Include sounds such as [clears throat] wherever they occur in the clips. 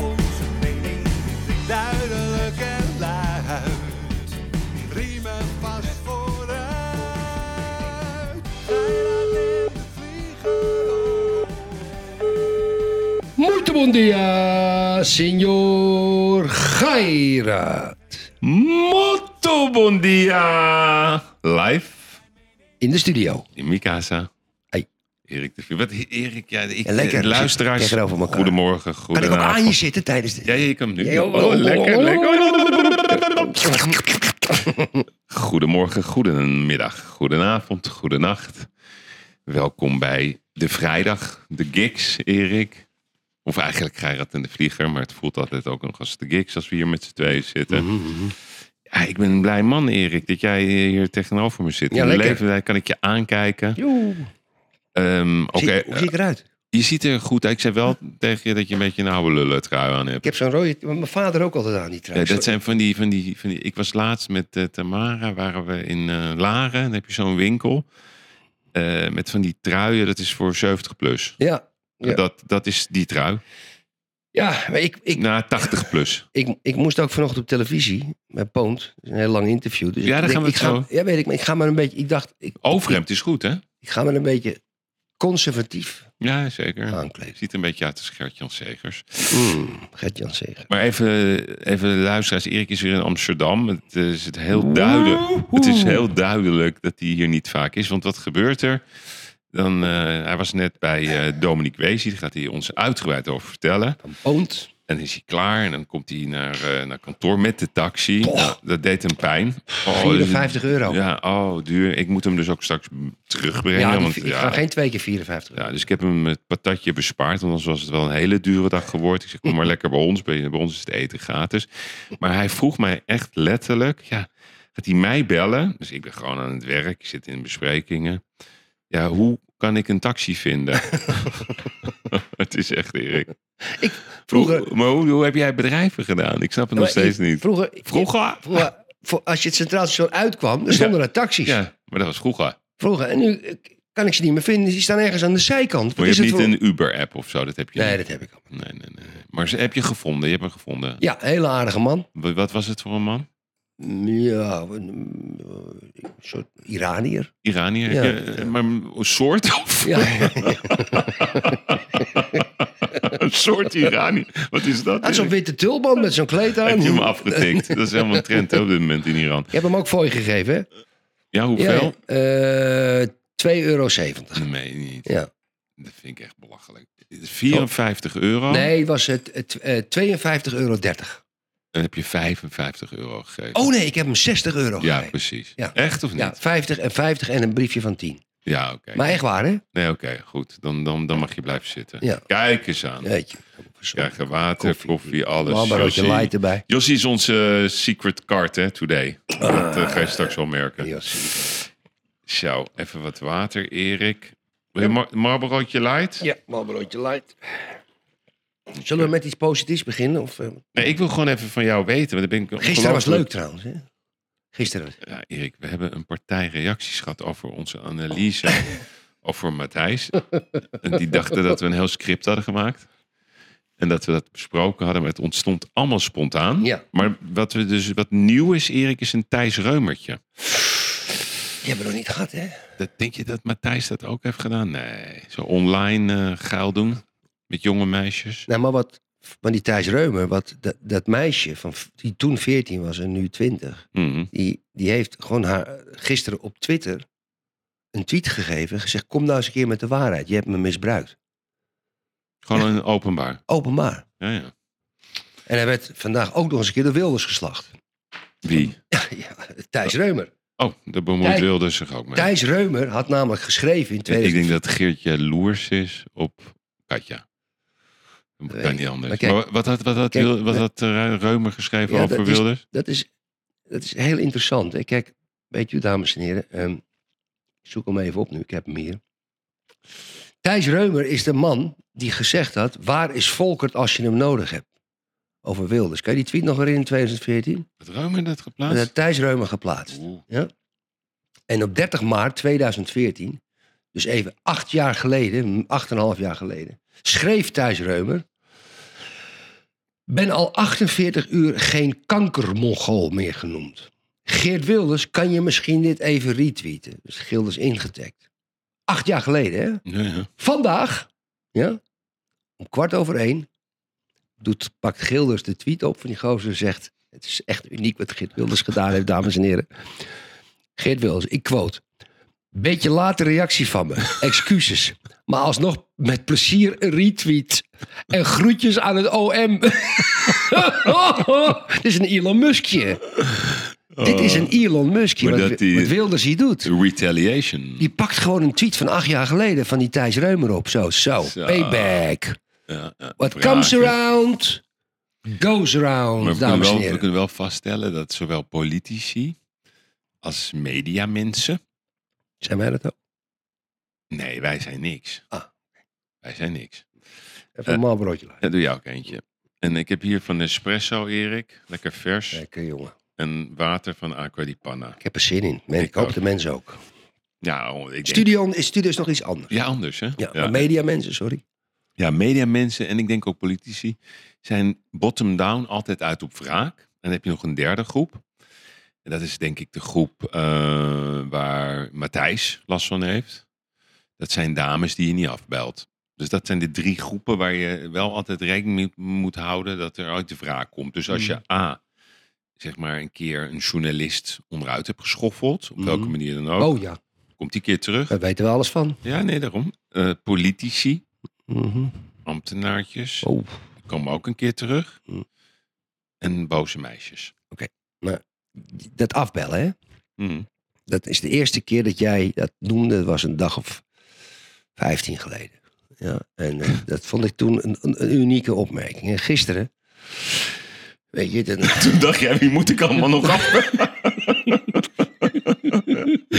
Onze mening, duidelijk en luid, riemen vast vooruit. Vrijdag in de vlieger. Muito bom dia, senhor Geirat. Motto bon dia! Live In de studio. in Mikasa. Hey. Erik de Vries. Wat, Erik, ja, ik, Ja, lekker. eh, luisteraars. Zitten tegenover elkaar. Goedemorgen, Kan ik ook goedenavond. aan je zitten tijdens dit? Ja, ja, je kan hem nu. Ja, oh, oh, oh, lekker, oh, lekker. Goedemorgen, goedemiddag, goedenavond, goedenacht. Welkom bij de vrijdag, de gigs, Erik. Of eigenlijk Geirat en de Vlieger, maar het voelt altijd ook nog als de gigs als we hier met z'n tweeën Mhm. zitten. Ja, ik ben een blij man, Erik, dat jij hier tegenover me zit. Ja, In de lekker. leeftijd kan ik je aankijken. Joe. Ehm, Oké, Zie- hoe zie ik eruit? je ziet er goed uit. Ik zei wel tegen je dat je een beetje een oude lullen trui aan hebt. Ik heb zo'n rode... want Mijn vader ook altijd aan die Ja, trui. dat zijn van die, van, die, van die. Ik was laatst met eh, Tamara, waren we in eh, Laren. Dan heb je zo'n winkel. eh, met van die truien, dat is voor 70 plus. Ja, Ja. Dat, dat is die trui. ja maar ik, ik, Na 80 plus. ik, ik moest ook vanochtend op televisie met Poont. Een heel lang interview. Dus Ja, ik daar gaan we ik het ga, zo. Ja, weet ik. Maar ik ga maar een beetje... Ik dacht, ik, Overhemd is goed, hè? ik ga maar een beetje conservatief Ja, zeker. aankleden. Ziet er een beetje uit als Gert-Jan Segers. Mm, Gert-Jan Zeger. Maar even, even de luisteraars. Erik is weer in Amsterdam. Het is het heel duidelijk. Het is heel duidelijk dat hij hier niet vaak is. Want wat gebeurt er? Dan, eh, hij was net bij eh, Dominique Wees. Daar gaat hij ons uitgebreid over vertellen. Van Poont. En dan is hij klaar en dan komt hij naar, eh, naar kantoor met de taxi. Nou, dat deed hem pijn. Oh, 54 euro. Ja, oh, duur. Ik moet hem dus ook straks terugbrengen. Ja, die- want, ik ja, ga geen twee keer 54 euro. ja, dus ik heb hem het patatje bespaard. Anders was het wel een hele dure dag geworden. Ik [laughs] zeg, kom maar lekker bij ons. Bij, bij ons is het eten gratis. Maar hij vroeg mij echt letterlijk... Ja, gaat hij mij bellen? Dus ik ben gewoon aan het werk. Ik zit in besprekingen. Ja, hoe kan ik een taxi [laughs] vinden? het is echt, Erik. Vroeger- maar hoe, hoe heb jij bedrijven gedaan? Ik snap het nog Maar steeds ik- niet. Vroeger, Vroeger? vroeger, voor- als je het Centraal Station uitkwam, dan stonden er taxis. Ja, maar dat was vroeger. Vroeger. En nu eh, kan ik ze niet meer vinden. Die staan ergens aan de zijkant. Maar Wat je is hebt het niet voor- een Uber-app of zo. Dat heb je Nee, niet. dat heb ik al. Nee, nee, nee. Maar ze- heb je gevonden? Je hebt hem gevonden. Ja, hele aardige man. Wat- Wat was het voor een man? Ja, een, eh, een soort Iranier. Iranier, Ja, eh, maar een soort of [laughs] Ja, [laughs] een soort Iranier. Wat is dat? had zo'n Erik? witte tulband met zo'n kleed aan. Heb je hem Ik afgetikt? Dat is helemaal een trend hè, op dit moment in Iran. heb hem ook voor je gegeven, hè? Ja, hoeveel? Ja, eh, 2,70 euro. Nee, niet. Ja. Dat vind ik echt belachelijk. 54 euro. Nee, het was het, het eh, 52,30 euro. Dan heb je 55 euro gegeven. Oh nee, ik heb hem 60 euro ja, gegeven. precies. Ja. Echt of niet? Ja, Ja, 50 en 50 en een briefje van 10. oké. Maar echt waar, hè? Nee, oké, goed. Dan, dan, dan mag je blijven zitten. Ja. Kijk eens aan. Weet je. Krijgen water, koffie, alles. Mama, roodje Jossie. light erbij. Jossie is onze eh, secret card, hè, today. Ah, dat eh, ga je straks wel merken. Yes. Zo, even wat water, Erik. Wil je mar Marlborootje light? Ja, mama, roodje light. Zullen we met iets positiefs beginnen? Of, eh, Nee, ik wil gewoon even van jou weten. Want dan ben ik gisteren was leuk ongelooflijk- trouwens. Hè? Gisteren. was- Ja, Erik, we hebben een partij reacties gehad over onze analyse [laughs] over Matthijs. En die dachten dat we een heel script hadden gemaakt. En dat we dat besproken hadden, maar het ontstond allemaal spontaan. Ja. Maar wat, we dus, wat nieuw is, Erik, is een Thijs Reumertje. Die hebben we nog niet gehad, hè? Dat, denk je dat Matthijs dat ook heeft gedaan? Nee, zo online eh, geil doen met jonge meisjes. Nou, maar wat. Maar die Thijs Reumer, wat, dat, dat meisje van, v- die toen 14 was en nu 20, Mhm. die, die heeft gewoon haar gisteren op Twitter een tweet gegeven. Gezegd: Kom nou eens een keer met de waarheid. Je hebt me misbruikt. Gewoon een openbaar. Openbaar. Ja, ja. En hij werd vandaag ook nog eens een keer de Wilders geslacht. Wie? Ja, Thijs Reumer. Oh, daar bemoeit Thijs- Wilders zich ook mee. Thijs Reumer had namelijk geschreven in Ik 2000. denk dat Geertje loers is op Katja. Dat weet kan ik. niet anders. Maar kijk- Maar wat had, wat had, kijk, Wil- wat maar- had eh, Reumer geschreven Ja, over dat is- Wilders? Dat is, dat is heel interessant. Hè? Kijk, weet je, dames en heren. ehm, ik zoek hem even op nu. Ik heb hem hier. Thijs Reumer is de man die gezegd had... waar is Volkert als je hem nodig hebt? Over Wilders. Kan je die tweet nog herinneren in 2014? Wat Romer dat geplaatst? Dat had Thijs Reumer geplaatst. Oeh. En op 30 maart 2014, dus even acht jaar geleden, acht en een half jaar geleden, schreef Thijs Reumer. Ben al 48 uur geen kankermongool meer genoemd. Geert Wilders, kan je misschien dit even retweeten? Dus Gilders ingetagd. Acht jaar geleden, hè? Ja, ja. Vandaag, ja, om kwart over één, doet, pakt Gilders de tweet op van die gozer en zegt... Het is echt uniek wat Geert Wilders gedaan heeft, dames en heren. Geert Wilders, ik quote. Beetje late reactie van me, excuses. Maar alsnog met plezier een retweet. En groetjes aan het OM. [laughs] Dit is een Elon Muskje. Dit is een Elon Muskje, Oh. Maar wat, dat die- wat Wilders hier doet. Eh, Retaliation. Die pakt gewoon een tweet van acht jaar geleden van die Thijs Reumer op. Zo, zo, Zo. payback. Ja, ja. What Vragen. comes around, goes around, Maar we kunnen, dames en wel, we heren. kunnen wel vaststellen dat zowel politici als mediamensen... Zijn wij dat ook? Nee, wij zijn niks. Ah. Wij zijn niks. Even Eh. een malbroodje laten. Dat doe jij ook eentje. En ik heb hier van Espresso, Erik. Lekker vers. Lekker jongen. En water van Aqua di Panna. Ik heb er zin in. Men- Ik ik hoop ook. de mensen ook. Ja, oh, ik denk... Studio is, studio is nog iets anders. Ja, anders hè? Ja, maar media mensen, sorry. Ja, mediamensen en ik denk ook politici zijn bottom-down altijd uit op wraak. En dan heb je nog een derde groep. En dat is denk ik de groep eh, waar Matthijs last van heeft. Dat zijn dames die je niet afbelt. Dus dat zijn de drie groepen waar je wel altijd rekening mee moet houden dat er uit de wraak komt. Dus als je A, zeg maar een keer een journalist onderuit hebt geschoffeld, op welke Mhm. manier dan Oh, ook, ja, komt die keer terug. daar weten we alles van. Ja, nee, daarom. Eh, politici, Mhm. ambtenaartjes Oh, komen ook een keer terug. Hm. En boze meisjes. dat afbellen, hè? Hm. Dat is de eerste keer dat jij dat noemde. Dat was een dag of 15 geleden. Ja, en eh, dat vond ik toen een, een, een unieke opmerking. En gisteren, weet je, dan, [laughs] Toen dacht jij, wie moet ik allemaal nog af? [laughs]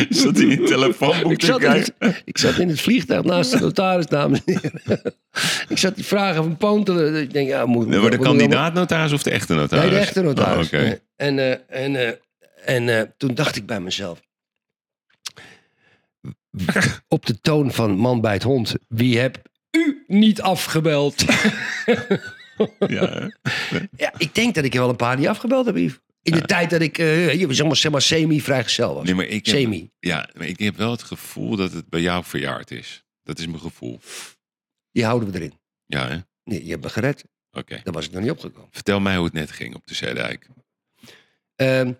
Zat in je telefoonboek ik, zat in het, ik zat in het vliegtuig naast de notaris, dames en heren. [laughs] ik zat die vragen van Poon te... Ik denk, ja, moet, Maar de moet- moet- kandidaat-notaris of de echte notaris? Nee, de echte notaris. Ah, oké. Nee. En, eh, en, eh, en eh, toen dacht ik bij mezelf. Op de toon van man bij het hond. Wie heb u niet [laughs] afgebeld? Ja, hè? ja, ik denk dat ik er wel een paar die afgebeld heb, Yves. In de tijd dat ik, eh, je zeg maar, zeg maar semi-vrijgezel was. Nee, maar ik heb, semi. ja, maar ik heb wel het gevoel dat het bij jou verjaard is. Dat is mijn gevoel. Die houden we erin. Ja, hè? Oké. Nee, je hebt me gered. Daar was ik nog niet opgekomen. Vertel mij hoe het net ging op de Zeedijk. Ehm,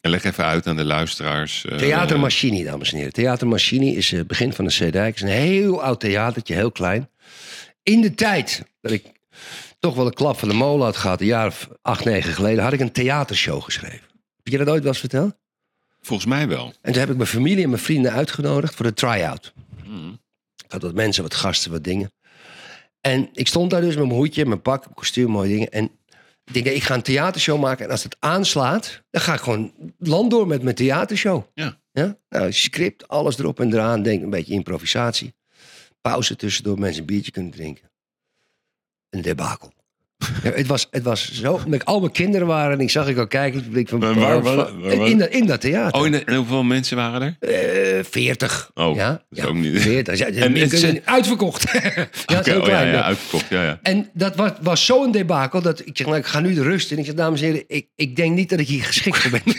En leg even uit aan de luisteraars. eh, Theater Machini, dames en heren. Theater Machini is het begin van de Zeedijk. Het is een heel oud theatertje, heel klein. In de tijd dat ik toch wel een klap van de molen had gehad, een jaar of acht, negen geleden, had ik een theatershow geschreven. Heb je dat ooit wel eens verteld? Volgens mij wel. En toen heb ik mijn familie en mijn vrienden uitgenodigd voor de try-out. Hm. Ik had wat mensen, wat gasten, wat dingen. En ik stond daar dus met mijn hoedje, mijn pak, mijn kostuum, mooie dingen. En ik denk, nee, ik ga een theatershow maken. En als het aanslaat, dan ga ik gewoon land door met mijn theatershow. Ja. ja? Nou, script, alles erop en eraan. Denk een beetje improvisatie. Pauze tussendoor, mensen een biertje kunnen drinken. Een debakel. Ja, het, was, het was zo, omdat al mijn kinderen waren en ik zag ik al kijken. Ik denk van, Maar waar- waar- waar- waar- in, dat, in dat theater. Oh, en, en hoeveel mensen waren er? Eh, 40. Oh, ja, dat is ja, ook niet- 40. Ja, En je het kunt zijn- het- uitverkocht. [laughs] ja, het Oké, is heel oh, ja, klein. ja, ja. uitverkocht. Ja, ja. En dat was, was zo'n debakel dat ik zeg, nou, ik ga nu de rust in. Ik zeg, dames en heren, ik, ik denk niet dat ik hier geschikt voor [laughs] ben.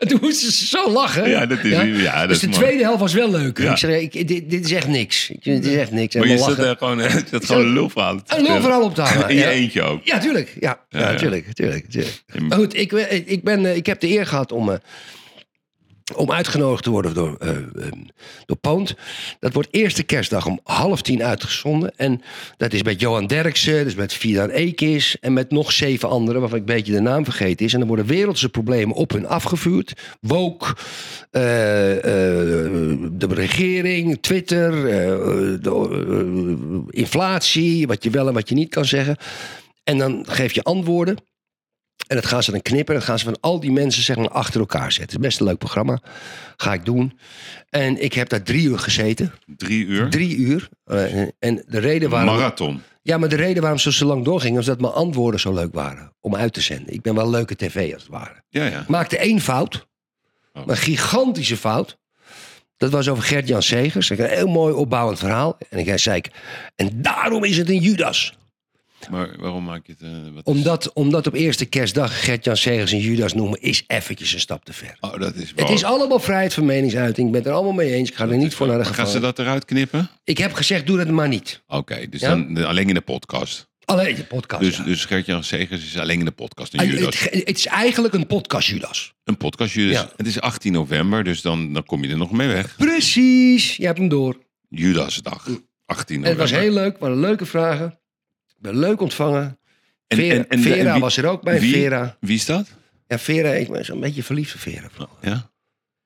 En Toen moesten ze zo lachen. Ja, dat is- ja, dat dus is de mooi. tweede helft was wel leuk. Ja. Ik zeg, ik, dit, dit is echt niks. Ik, dit is echt niks. En Maar je we zat lachen. daar gewoon, [laughs] je zat gewoon een lulverhaal te Een vertellen. lulverhaal op te [laughs] hangen, In je ja. eentje ook. Ja, tuurlijk. Ja, ja, ja. tuurlijk. tuurlijk, tuurlijk. Maar goed, ik, ben- ik, ben, eh, ik heb de eer gehad om, eh, om uitgenodigd te worden door, eh, eh, door Poont. Dat wordt eerste kerstdag om half tien uitgezonden. En dat is met Johan Derksen, dus met Fidan Ekis en met nog zeven anderen, waarvan ik een beetje de naam vergeten is. En dan worden wereldse problemen op hun afgevuurd. Woke, eh, eh, de regering, Twitter, eh, de, eh, inflatie, wat je wel en wat je niet kan zeggen. En dan geef je antwoorden. En dat gaan ze dan knippen. Dat gaan ze van al die mensen zeg maar, achter elkaar zetten. Het is best een leuk programma. Ga ik doen. En ik heb daar drie uur gezeten. Drie uur. Drie uur. Eh, en de reden waarom... Marathon. Ja, maar de reden waarom ze zo lang doorgingen... was dat mijn antwoorden zo leuk waren om uit te zenden. Ik ben wel leuke tv als het ware. Ja, ja. Maakte één fout. Oh. Een gigantische fout. Dat was over Gert-Jan Segers. Ik had een heel mooi opbouwend verhaal. En ik zei ik... En daarom is het een Judas. Maar waarom maak je het... eh, wat is- Omdat, omdat op eerste kerstdag Gert-Jan Segers een Judas noemen... is eventjes een stap te ver. Oh, dat is... Het is allemaal vrijheid van meningsuiting. Ik ben het er allemaal mee eens. Ik ga er niet voor naar de Gaan ze gevangenis. dat eruit knippen? Ik heb gezegd, doe dat maar niet. Oké, dus Ja? dan de- alleen in de podcast. Alleen de podcast. Dus, ja. dus Gert-Jan Segers is alleen in de podcast. Een Ah, Judas. het, ge- het is eigenlijk een podcast, Judas. Een podcast, Judas. Ja. Het is 18 november, dus dan, dan kom je er nog mee weg. Precies, je hebt hem door. Judasdag. En 18 november. Mm. het was heel leuk, waren leuke vragen. Ik ben leuk ontvangen. En- Vera, en- en- Vera en wie- was er ook bij, wie? Vera. Wie is dat? Ja, Vera, ik ben zo'n beetje verliefd op Vera. Ja.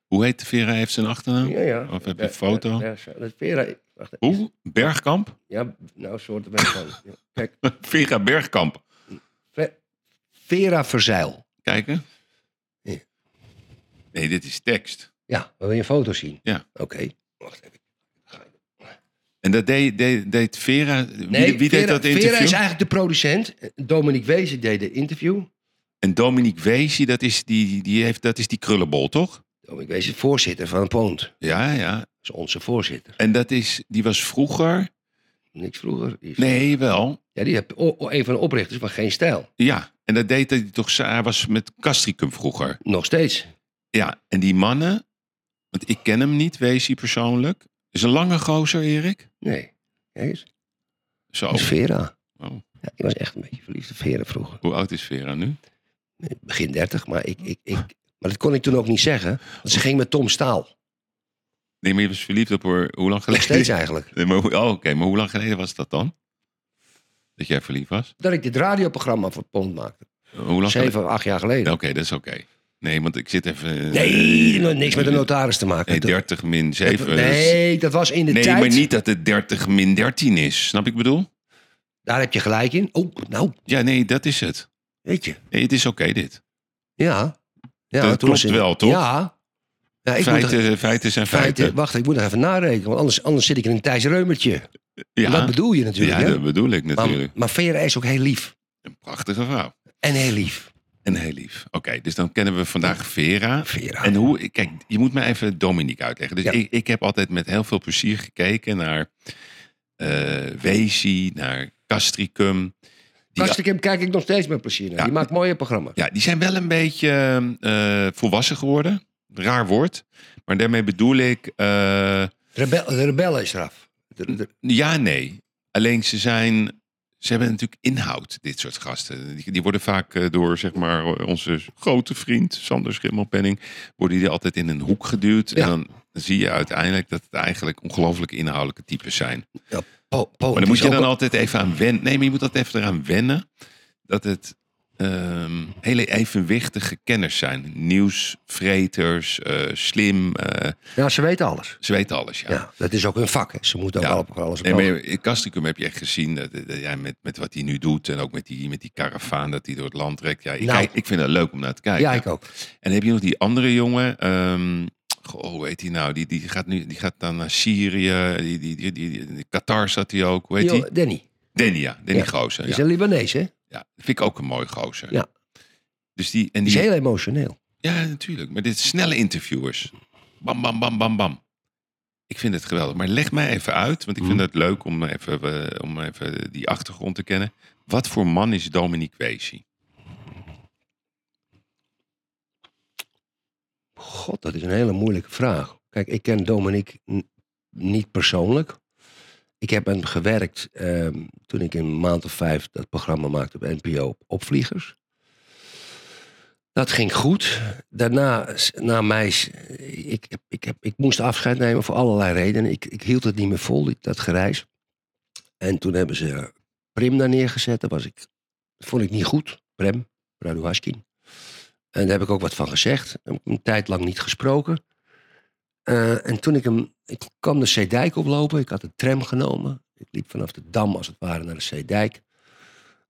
Hoe heet Vera? Heeft zijn achternaam? Ja, ja. Of heb je een foto? Ja, zo- dat Vera, wacht even. Hoe? Bergkamp? Ja, nou, soort ben ik van. Ja, Kijk, Vera Bergkamp. Ve- Vera Verzeil. Kijken. Ja. Nee, dit is tekst. Ja, wil je een foto zien? Ja. Oké. Wacht even. En dat deed, deed, deed Vera. Nee, wie wie Vera, deed dat Vera interview? is eigenlijk de producent. Dominique Wezen deed de interview. En Dominique Weesje, dat is die, die, heeft, dat is die krullenbol, toch? Dominique Wezen, voorzitter van Poont. Dat Ja, ja. is onze voorzitter. En dat is, die was vroeger. Niks vroeger. Die is- Nee, wel. Ja, die heb o- o- een van de oprichters van Geen Stijl. Ja, en dat deed hij toch. Hij was met Castricum vroeger. Nog steeds. Ja, en die mannen. Want ik ken hem niet, Weesje persoonlijk. Is een lange gozer, Erik. Nee. Kijk eens. Zo. Dat is Vera. Oh. Ja, ik was echt een beetje verliefd op Vera vroeger. Hoe oud is Vera nu? Nee, Begin 30, maar ik, ik, ik... Maar dat kon ik toen ook niet zeggen. Want ze ging met Tom Staal. Nee, maar je was verliefd op haar. Hoe lang Nog geleden? steeds eigenlijk. Nee, maar, hoe- oh, oké, maar hoe lang geleden was dat dan? Dat jij verliefd was? Dat ik dit radioprogramma voor Poont maakte. Hoe lang geleden? Zeven of acht jaar geleden. Nee, Oké, dat is oké. Nee, want ik zit even. eh, Nee, no- niks met de notaris te maken. Nee, 30 min 7. dat is- Nee, dat was in de nee tijd. maar niet dat het 30 min 13 is. Snap ik bedoel? Daar heb je gelijk in. Oh, nou, Ja, nee, dat is het. weet je. Nee, het is oké dit. Ja. ja Dat toen was klopt het- wel, toch? Ja. ja ik moet feiten, nog- feiten zijn feiten. feiten. Wacht, ik moet nog even narekenen. Want anders, anders zit ik in een Thijs Reumertje. ja, Dat bedoel je natuurlijk. ja, hè? dat bedoel ik maar, natuurlijk. maar Vera is ook heel lief. Een prachtige vrouw. En heel lief. En heel lief. Oké, dus dan kennen we vandaag Vera. Vera. En hoe, kijk, je moet mij even Dominique uitleggen. Dus Ja. ik, ik heb altijd met heel veel plezier gekeken naar eh Wezi, naar Castricum. Die, Kastikum kijk ik nog steeds met plezier naar. Ja. Die maakt mooie programma's. ja, die zijn wel een beetje eh, volwassen geworden. Raar woord. Maar daarmee bedoel ik eh, Rebel, de rebellen is eraf. De- de- ja, nee. Alleen ze zijn. Ze hebben natuurlijk inhoud, dit soort gasten. Die, die worden vaak eh, door zeg maar, onze grote vriend Sander Schimmelpenning... worden die altijd in een hoek geduwd. Ja. En dan zie je uiteindelijk dat het eigenlijk ongelooflijk inhoudelijke types zijn. ja, Po- Poont Maar dan is moet je ook dan een- altijd even aan wennen. Nee, maar je moet altijd even eraan wennen. Dat het ehm, hele evenwichtige kenners zijn. Nieuwsvreters, eh, slim. eh, Ja, ze weten alles. ze weten alles, ja. Ja. dat is ook hun vak. hè. Ze moeten ook Ja. alle alles op Nee, maar alles. in Castricum heb je echt gezien dat, dat- dat- ja, met, met wat hij nu doet. En ook met die, met die karavaan dat hij door het land trekt. Ja, ik, Nou. kijk- ik vind dat leuk om naar te kijken. Ja, ik ook. En heb je nog die andere jongen? ehm, goh, hoe heet hij nou? Die, die, gaat nu, die gaat dan naar Syrië. Die, die, die, die, die- Qatar zat hij ook. Hoe heet Jo- hij? Danny. Danny, ja. Danny Ja, Gozer. Die is Ja. een Libanees, hè? Ja, dat vind ik ook een mooi gozer. Ja. Dus die, en Die die, is heel emotioneel. Ja, natuurlijk. Maar dit snelle interviewers. Bam, bam, bam, bam, bam. Ik vind het geweldig. Maar leg mij even uit, want ik Mm. vind het leuk om even, eh, om even die achtergrond te kennen. Wat voor man is Dominique Weesy? God, dat is een hele moeilijke vraag. Kijk, ik ken Dominique n- niet persoonlijk. Ik heb met hem gewerkt ehm, toen ik in een maand of vijf dat programma maakte op NPO op Opvliegers. Dat ging goed. Daarna, s- na mij, s- ik, heb- ik, heb, ik moest afscheid nemen voor allerlei redenen. Ik, ik hield het niet meer vol, die- dat gereis. En toen hebben ze Prim daar neergezet. Dat was ik, vond ik niet goed. Prem, Raduaskin. En daar heb ik ook wat van gezegd. Daar heb ik een tijd lang niet gesproken. Eh, en toen ik hem... Ik kwam de Zeedijk oplopen. Ik had de tram genomen. Ik liep vanaf de Dam als het ware naar de Zeedijk.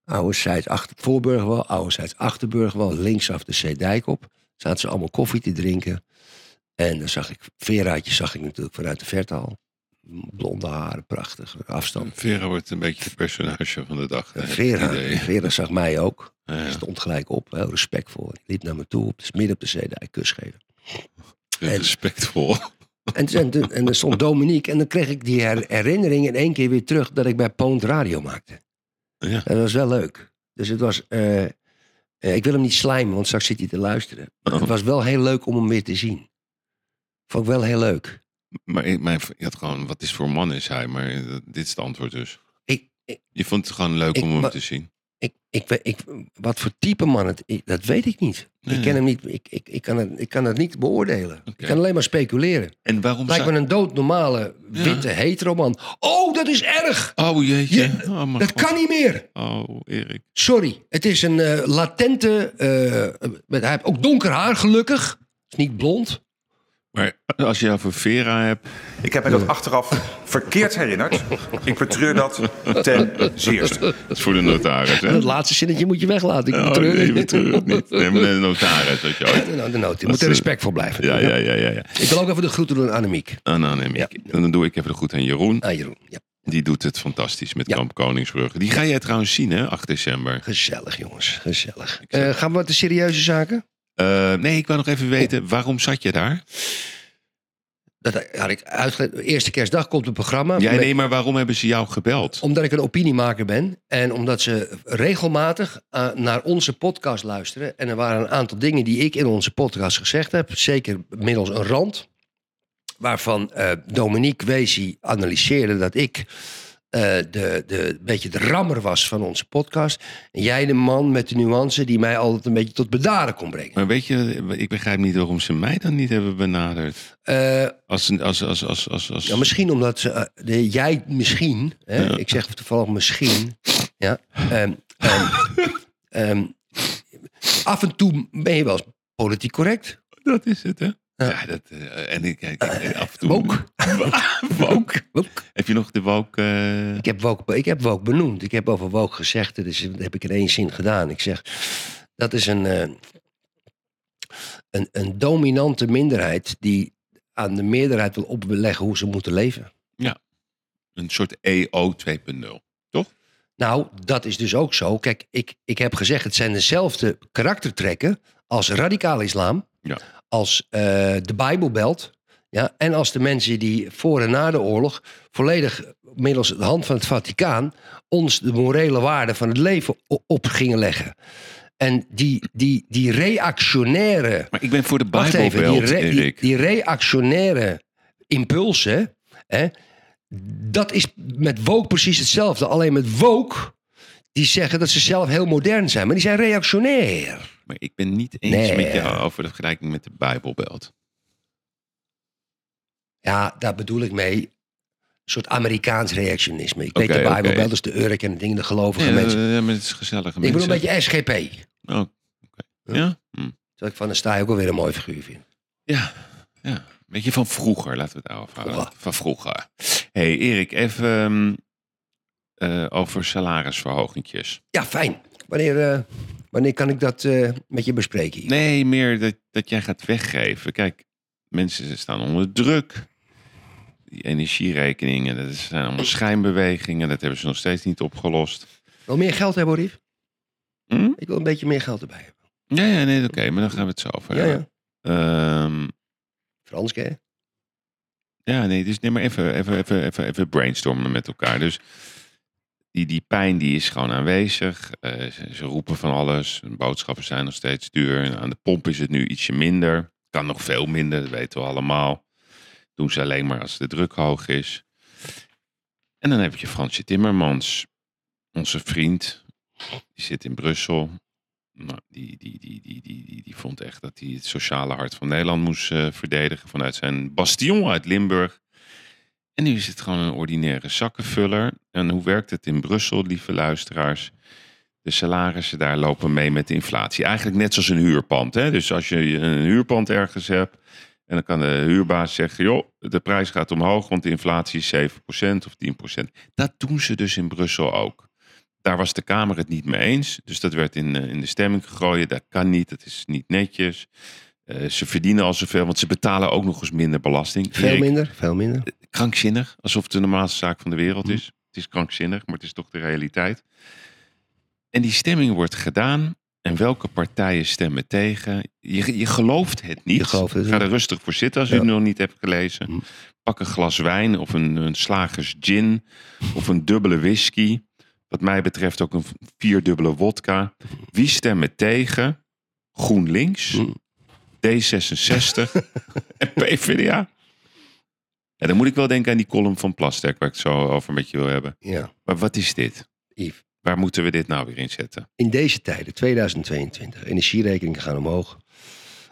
Ouderzijds achter Voorburgwal, ouderzijds Achterburgwal, linksaf de Zeedijk op. Zaten ze allemaal koffie te drinken. En dan zag ik, Veraatje zag ik natuurlijk vanuit de verte al. Blonde haren, prachtig, afstand. Vera wordt een beetje het personage van de dag. Eh, En heb ik Eh, Vera, het idee. Vera zag mij ook. Ja, ja. Stond gelijk op, heel respectvol. Die liep naar me toe, op, dus midden op de zeedijk, kus geven. En- Respectvol. [laughs] En, en, toen- en er stond Dominique en dan kreeg ik die her- herinnering in één keer weer terug dat ik bij Poont Radio maakte. Ja. En dat was wel leuk. Dus het was, eh, eh, ik wil hem niet slijmen, want straks zit hij te luisteren. Maar Oh. Het was wel heel leuk om hem weer te zien. Vond ik wel heel leuk. Maar ik- mijn, je had gewoon, wat is voor man is hij? Maar eh, dit is het antwoord dus. Ik, ik, Je vond het gewoon leuk Ik- om hem maar- te zien. ik, ik, we- ik- wat voor type man het is, dat weet ik niet. Nee. Ik ken hem niet, ik, ik, ik, kan het, ik kan het niet beoordelen. Ik kan alleen maar speculeren. En waarom Lijkt me zou... een doodnormale, Ja. witte, hetero man. Oh, dat is erg! Oh jeetje. Je- oh, mijn Dat God. kan niet meer! Oh, Erik. Sorry, het is een eh, latente. eh, met, hij heeft ook donker haar, gelukkig. Het is niet blond. Maar als je over Vera hebt... Ik heb mij dat achteraf verkeerd herinnerd. Ik betreur dat ten zeerste. Dat is voor de notaris, hè? En dat laatste zinnetje moet je weglaten. Ik Oh, betreur nee, het. [laughs] betreur het niet. Nee, maar de notaris had je ooit. Nou, de noot, je moet eh, er respect voor blijven. Ja, ja, ja, ja. ja. Ik wil ook even de groeten doen aan Annemiek. Anoniem. Ja. En dan doe ik even de goed aan Jeroen. Aan Jeroen. Ja, Die doet het fantastisch met Ja. Kamp Koningsbrugge. Die ga jij trouwens zien, hè? 8 december. gezellig jongens, gezellig. zeg- Eh, gaan we wat de serieuze zaken? Eh, nee, ik wou nog even weten, waarom zat je daar? Dat had ik uitgelegd. Eerste kerstdag komt het programma. Jij, Met- nee, maar waarom hebben ze jou gebeld? Omdat ik een opiniemaker ben en omdat ze regelmatig eh, naar onze podcast luisteren. En er waren een aantal dingen die ik in onze podcast gezegd heb, zeker middels een rand. Waarvan eh, Dominique Wezi analyseerde dat ik eh, de, de, een beetje de rammer was van onze podcast. En jij de man met de nuance die mij altijd een beetje tot bedaren kon brengen. Maar weet je, ik begrijp niet waarom ze mij dan niet hebben benaderd. Eh, Als, als, als, als, als, als... Ja, misschien omdat ze, eh, de, jij misschien, hè, Ja. ik zeg toevallig misschien, ja, ehm, ehm, ehm, af en toe ben je wel eens politiek correct. dat is het, hè? Ja, dat, eh, en ik kijk eh, af en toe... Woke. Woke. Woke. Heb je nog de woke... eh, Ik heb woke, be- ik heb woke benoemd. Ik heb over woke gezegd. Dat, is, dat heb ik in één zin gedaan. Ik zeg, dat is een, eh, een, een dominante minderheid die aan de meerderheid wil opbeleggen hoe ze moeten leven. Een soort E EO 2.0. Nou, dat is dus ook zo. Kijk, ik, ik heb gezegd, het zijn dezelfde karaktertrekken als radicaal islam, Ja. als eh, de Bijbelbelt. Ja, en als de mensen die voor en na de oorlog volledig middels de hand van het Vaticaan ons de morele waarde van het leven o- op gingen leggen. En die, die, die reactionaire Maar ik ben voor de Wacht even, Bijbelbelt, die, re- die, Erik. die reactionaire impulsen, hè, dat is met woke precies hetzelfde. Alleen met woke, die zeggen dat ze zelf heel modern zijn, maar die zijn reactionair. Maar ik ben niet eens Nee. met jou over de vergelijking met de Bijbelbelt. Ja, daar bedoel ik mee. Een soort Amerikaans reactionisme. Ik Oké, weet de Bijbel oké. wel, dat is de Urk en de dingen, de gelovige Ja, mensen. ja, maar het is gezellige Ik mensen. bedoel een beetje SGP. Terwijl Oh, oké. Ja? Hm. ik van de Staaij ook alweer een mooi figuur vind. Ja, ja. Een beetje van vroeger, laten we het daarover houden. Vroeger. Van vroeger. hey, Erik, even ehm, eh, over salarisverhogingjes. Ja, fijn. Wanneer, eh, wanneer kan ik dat eh, met je bespreken? hier? Nee, meer dat, dat jij gaat weggeven. Kijk, mensen ze staan onder druk. Die energierekeningen, dat is- zijn allemaal schijnbewegingen. Dat hebben ze nog steeds niet opgelost. Wil meer geld hebben, Rief? Hm? Ik wil een beetje meer geld erbij hebben. Ja, ja, nee, oké, maar dan gaan we het zo over Ja, hebben. ja. Ehm, Franske, hè? Ja, nee, dus nee, maar even, even, even, even, even brainstormen met elkaar. Dus die, die pijn die is gewoon aanwezig. Eh, ze, ze roepen van alles. Boodschappen zijn nog steeds duur. En aan de pomp is het nu ietsje minder. Kan nog veel minder, dat weten we allemaal. Doen ze alleen maar als de druk hoog is. En dan heb je Fransje Timmermans, onze vriend. Die zit in Brussel. Nou, die, die, die, die, die, die, die vond echt dat hij het sociale hart van Nederland moest eh, verdedigen vanuit zijn bastion uit Limburg. En nu is het gewoon een ordinaire zakkenvuller. En hoe werkt het in Brussel, lieve luisteraars? De salarissen daar lopen mee met de inflatie. Eigenlijk net zoals een huurpand. Hè? Dus als je een huurpand ergens hebt. En dan kan de huurbaas zeggen, joh, de prijs gaat omhoog, want de inflatie is 7% of 10%. Dat doen ze dus in Brussel ook. Daar was de Kamer het niet mee eens. Dus dat werd in, eh, in de stemming gegooid. Dat kan niet, dat is niet netjes. Eh, ze verdienen al zoveel, want ze betalen ook nog eens minder belasting. Veel Erik, minder, veel minder. krankzinnig. Alsof het de normaalste zaak van de wereld Mhm. is. Het is krankzinnig, maar het is toch de realiteit. En die stemming wordt gedaan. En welke partijen stemmen tegen? Je, je gelooft het niet. Je gelooft het Ga niet. er rustig voor zitten als u Ja. het nog niet hebt gelezen. Hm. Pak een glas wijn of een, een slagers gin. Of een dubbele whisky. Wat mij betreft ook een vierdubbele wodka. Wie stemmen tegen? GroenLinks, Hm. D66 [laughs] en PvdA. Ja, dan moet ik wel denken aan die column van Plasterk, waar ik het zo over met je wil hebben. Ja, Maar wat is dit? Yves. Waar moeten we dit nou weer in zetten? In deze tijden, 2022, energierekeningen gaan omhoog.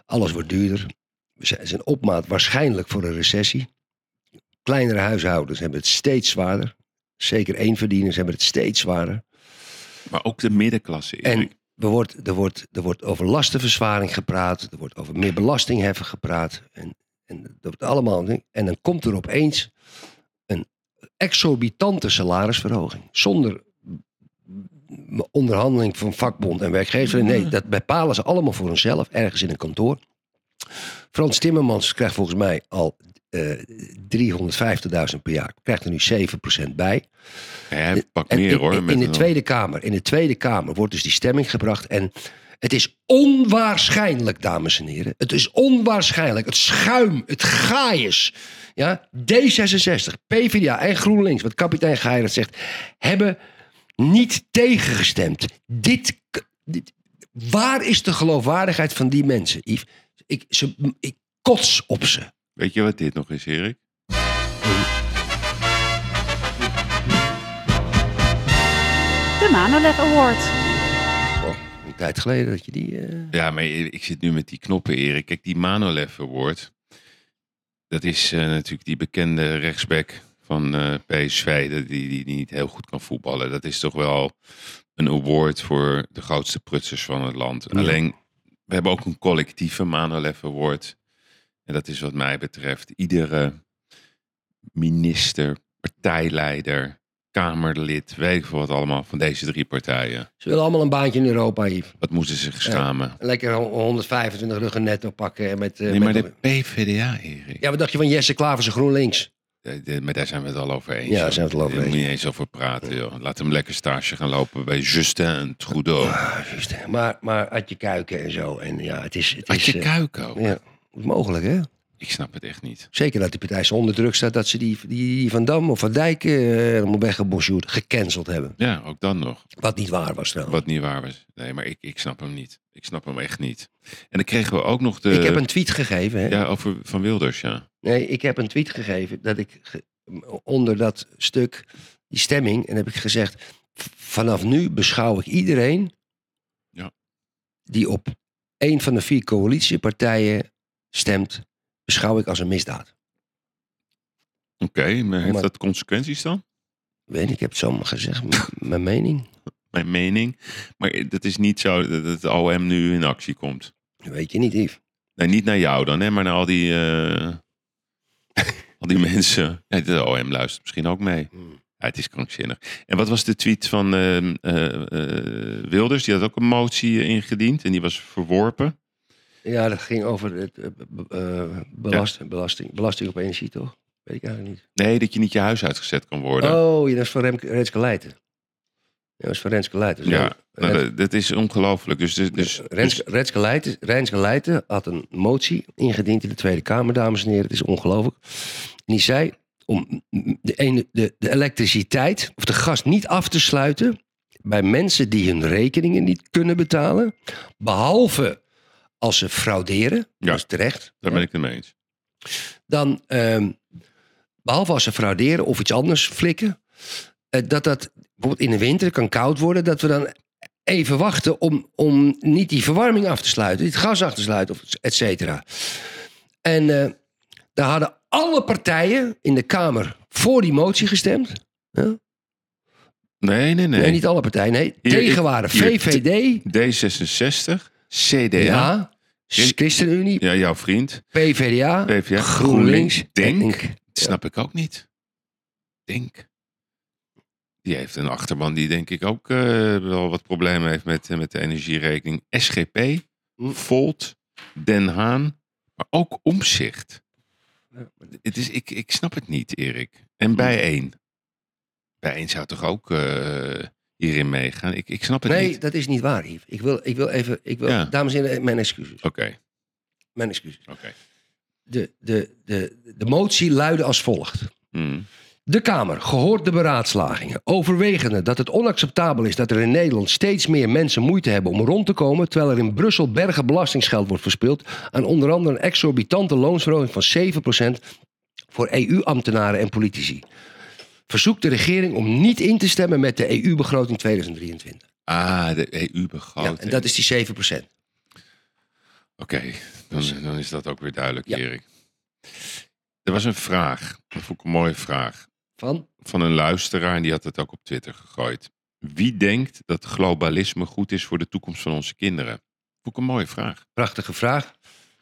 Alles wordt duurder. We zijn- zijn opmaat waarschijnlijk voor een recessie. Kleinere huishoudens hebben het steeds zwaarder. Zeker éénverdieners hebben het steeds zwaarder. Maar ook de middenklasse. En Erik. er wordt, er, wordt, er wordt over lastenverzwaring gepraat. Er wordt over meer belastingheffen gepraat. En, en, dat wordt allemaal, en dan komt er opeens een exorbitante salarisverhoging. Zonder onderhandeling van vakbond en werkgever. Nee, dat bepalen ze allemaal voor hunzelf. Ergens in een kantoor. Frans Timmermans krijgt volgens mij al eh 350.000 per jaar. Krijgt er nu 7% bij. Ja, hij pakt En meer in, hoor. in- met in de een- Tweede Kamer, in de Tweede Kamer wordt dus die stemming gebracht. En het is onwaarschijnlijk, dames en heren. Het is onwaarschijnlijk. Het schuim, het gaaiers. Ja? D66, PvdA en GroenLinks, wat kapitein Geijert zegt, hebben niet tegengestemd. Dit, k- dit- waar is de geloofwaardigheid van die mensen, Yves? Ik, ze, ik kots op ze. Weet je wat dit nog is, Erik? De Manolet Award. Oh, een tijd geleden dat je die... eh, Ja, maar ik zit nu met die knoppen, Erik. Kijk, die Manolev Award. Dat is eh, natuurlijk die bekende rechtsback van eh PSV. dat- Die, die, die niet heel goed kan voetballen. Dat is toch wel een award voor de grootste prutsers van het land. Alleen, we hebben ook een collectieve Manolev Award. En dat is wat mij betreft iedere minister, partijleider, kamerlid, weet ik veel wat allemaal van deze drie partijen. ze willen allemaal een baantje in Europa, Yves. Wat moeten ze zich schamen? Lekker hon- 125 ruggen netto pakken. en Met, eh, Nee, maar met- de PVDA, Erik. Ja, wat dacht je van Jesse Klaverse GroenLinks? Eh, de- Maar daar zijn we het al over eens. Ja, joh. daar zijn we het al over Daar eens. moet je niet eens over praten, joh. Laat hem lekker stage gaan lopen bij Justin en Trudeau. Ah, juist. Maar, maar Adje Kuiken en zo. En ja, het is... Het Had is, je eh, kuiko? Ja, mogelijk hè? Ik snap het echt niet. Zeker dat die partij zo onder druk staat dat ze die, die, die Van Dam of Van Dijk eh, helemaal weggebosjoerd, gecanceld hebben. Ja, ook dan nog. Wat niet waar was trouwens. Wat niet waar was. Nee, maar ik, ik snap hem niet. Ik snap hem echt niet. En dan kregen we ook nog de... Ik heb een tweet gegeven hè? Ja, over Van Wilders, ja. Nee, ik heb een tweet gegeven dat ik ge- onder dat stuk, die stemming, en heb ik gezegd: v- vanaf nu beschouw ik iedereen Ja. die op een van de vier coalitiepartijen stemt, beschouw ik als een misdaad. Oké, maar heeft Maar- dat consequenties dan? Weet ik, ik heb het zomaar gezegd, m- [laughs] mijn mening. Mijn mening. Maar dat is niet zo dat het OM nu in actie komt. Dat weet je niet, Yves. Nee, niet naar jou dan, hè, maar naar al die, [laughs] eh, al die mensen. Nee, de OM luistert misschien ook mee. Hmm. Ja, het is krankzinnig. En wat was de tweet van ehm, eh, eh, Wilders? Die had ook een motie eh, ingediend en die was verworpen. Ja, dat ging over het, eh, b- eh, belast- belasting, belasting op energie, toch? Weet ik eigenlijk niet. Nee, dat je niet je huis uitgezet kan worden. Oh, ja, dat is van Remke- Renske Leijten. Ja, Dat is van Renske Leijten. ja, Ren- nou, dat, dat is ongelooflijk. Dus, dus, dus, Renske, Renske, Leijten, Renske Leijten had een motie ingediend in de Tweede Kamer, dames en heren. Het is ongelooflijk. En die zei om de, ene, de, de elektriciteit of de gas niet af te sluiten bij mensen die hun rekeningen niet kunnen betalen. Behalve als ze frauderen, Ja. dat is terecht. daar hè. ben ik het mee eens. Dan, ehm, behalve als ze frauderen of iets anders flikken, eh, dat dat bijvoorbeeld in de winter kan koud worden, dat we dan even wachten om, om niet die verwarming af te sluiten, niet het gas af te sluiten, of et cetera. En eh, daar hadden alle partijen in de Kamer voor die motie gestemd. Nee, nee, nee. Nee, niet alle partijen, nee. Hier- tegen waren hier- VVD, D66, CDA. Ja, ja, ChristenUnie, jouw vriend. PvdA, PvdA, GroenLinks, GroenLinks, Denk. en- Dat snap ik ook niet. Denk. Die heeft een achterban die denk ik ook eh, wel wat problemen heeft met, eh, met de energierekening. SGP, Hm. Volt, Den Haan, maar ook Omzicht. Het is, ik, ik snap het niet, Erik. Hm. En bijeen. Bijeen zou toch ook eh, hierin meegaan? Ik, ik snap het Nee, niet. dat is niet waar, Yves. Ik wil, ik wil even... Ik wil, Ja. Dames en heren, mijn excuses. Oké, Mijn excuses. oké. De, de, de, de motie luidde als volgt. Hm. De Kamer gehoord de beraadslagingen, overwegende dat het onacceptabel is dat er in Nederland steeds meer mensen moeite hebben om rond te komen, terwijl er in Brussel bergen belastingsgeld wordt verspild aan onder andere een exorbitante loonsverhoging van 7% voor EU-ambtenaren en politici. Verzoekt de regering om niet in te stemmen met de E EU-begroting 2023. Ah, de EU-begroting. Ja, en dat is die 7%. Oké, dan, dan is dat ook weer duidelijk, Dus- Ja. Erik. Er was een vraag, dat vond ik een mooie vraag, Van? van een luisteraar en die had het ook op Twitter gegooid. Wie denkt dat globalisme goed is voor de toekomst van onze kinderen? Vond ik een mooie vraag. Prachtige vraag.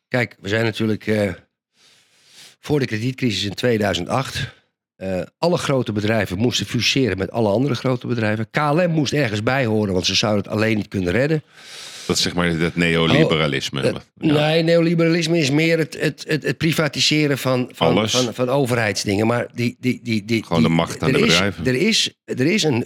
Kijk, we zijn natuurlijk eh, voor de kredietcrisis in 2008. eh, alle grote bedrijven moesten fuseren met alle andere grote bedrijven. KLM moest ergens bij horen, want ze zouden het alleen niet kunnen redden. Dat is zeg maar dat neoliberalisme. Eh, Ja. Nee, neoliberalisme is meer het, het, het, het privatiseren van, van, Alles. van, van overheidsdingen. Maar die, die, die, die, Gewoon de die- macht aan er de is- bedrijven. Er is, er is een,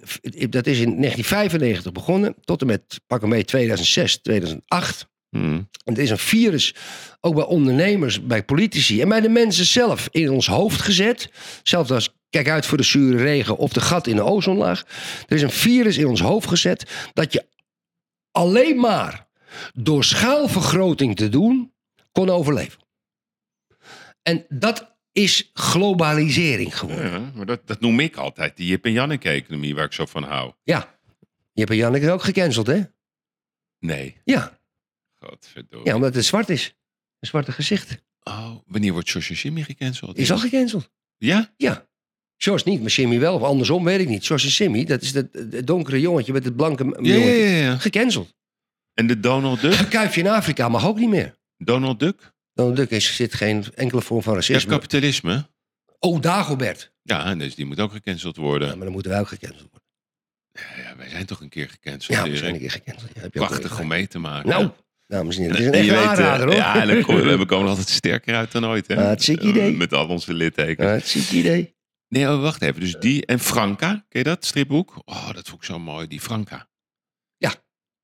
dat is in 1995 begonnen, tot en met pak een beetje 2006, 2008. Hm. Want er is een virus, ook bij ondernemers, bij politici en bij de mensen zelf in ons hoofd gezet. Zelfs als kijk uit voor de zure regen of de gat in de ozonlaag. Er is een virus in ons hoofd gezet dat je alleen maar door schaalvergroting te doen kon overleven. En dat is globalisering geworden. Ja, maar dat, dat noem ik altijd, die Jip en Janneke-economie waar ik zo van hou. Ja. Je hebt Janneke ook gecanceld, hè? Nee, Ja. godverdomme. ja, omdat het zwart is. Een zwarte gezicht. Oh, wanneer wordt George en Jimmy gecanceld? Is al gecanceld. Ja? Ja. George niet, maar Jimmy wel. Of andersom, weet ik niet. George en Jimmy, dat is dat, dat donkere jongetje met het blanke m- Ja, ja, jongetje. ja, ja. Gecanceld. En de Donald Duck? Een kuifje in Afrika mag ook niet meer. Donald Duck? Dan Duck is, zit geen enkele vorm van Ja, racisme. kapitalisme. oh, Dagobert. Ja, en dus die moet ook gecanceld Ja, worden. maar dan moeten wij ook gecanceld worden. Ja, ja, wij zijn toch een keer gecanceld, Ja, Erik? waarschijnlijk is gecanceld. Ja, heb je ook Prachtig weer om gelijk. mee te maken. Nou, dames en heren, dit is En een je echte weet, eh, aanrader, hoor. Ja, en dan [laughs] komen we komen altijd sterker uit dan ooit. Hè? Eh, Ah, het ziek idee. Met al onze littekens. Ja, het ziek idee. Nee, oh, wacht even. Dus die en Franka, ken je dat stripboek? Oh, dat vond ik zo mooi, die Franka. Ja.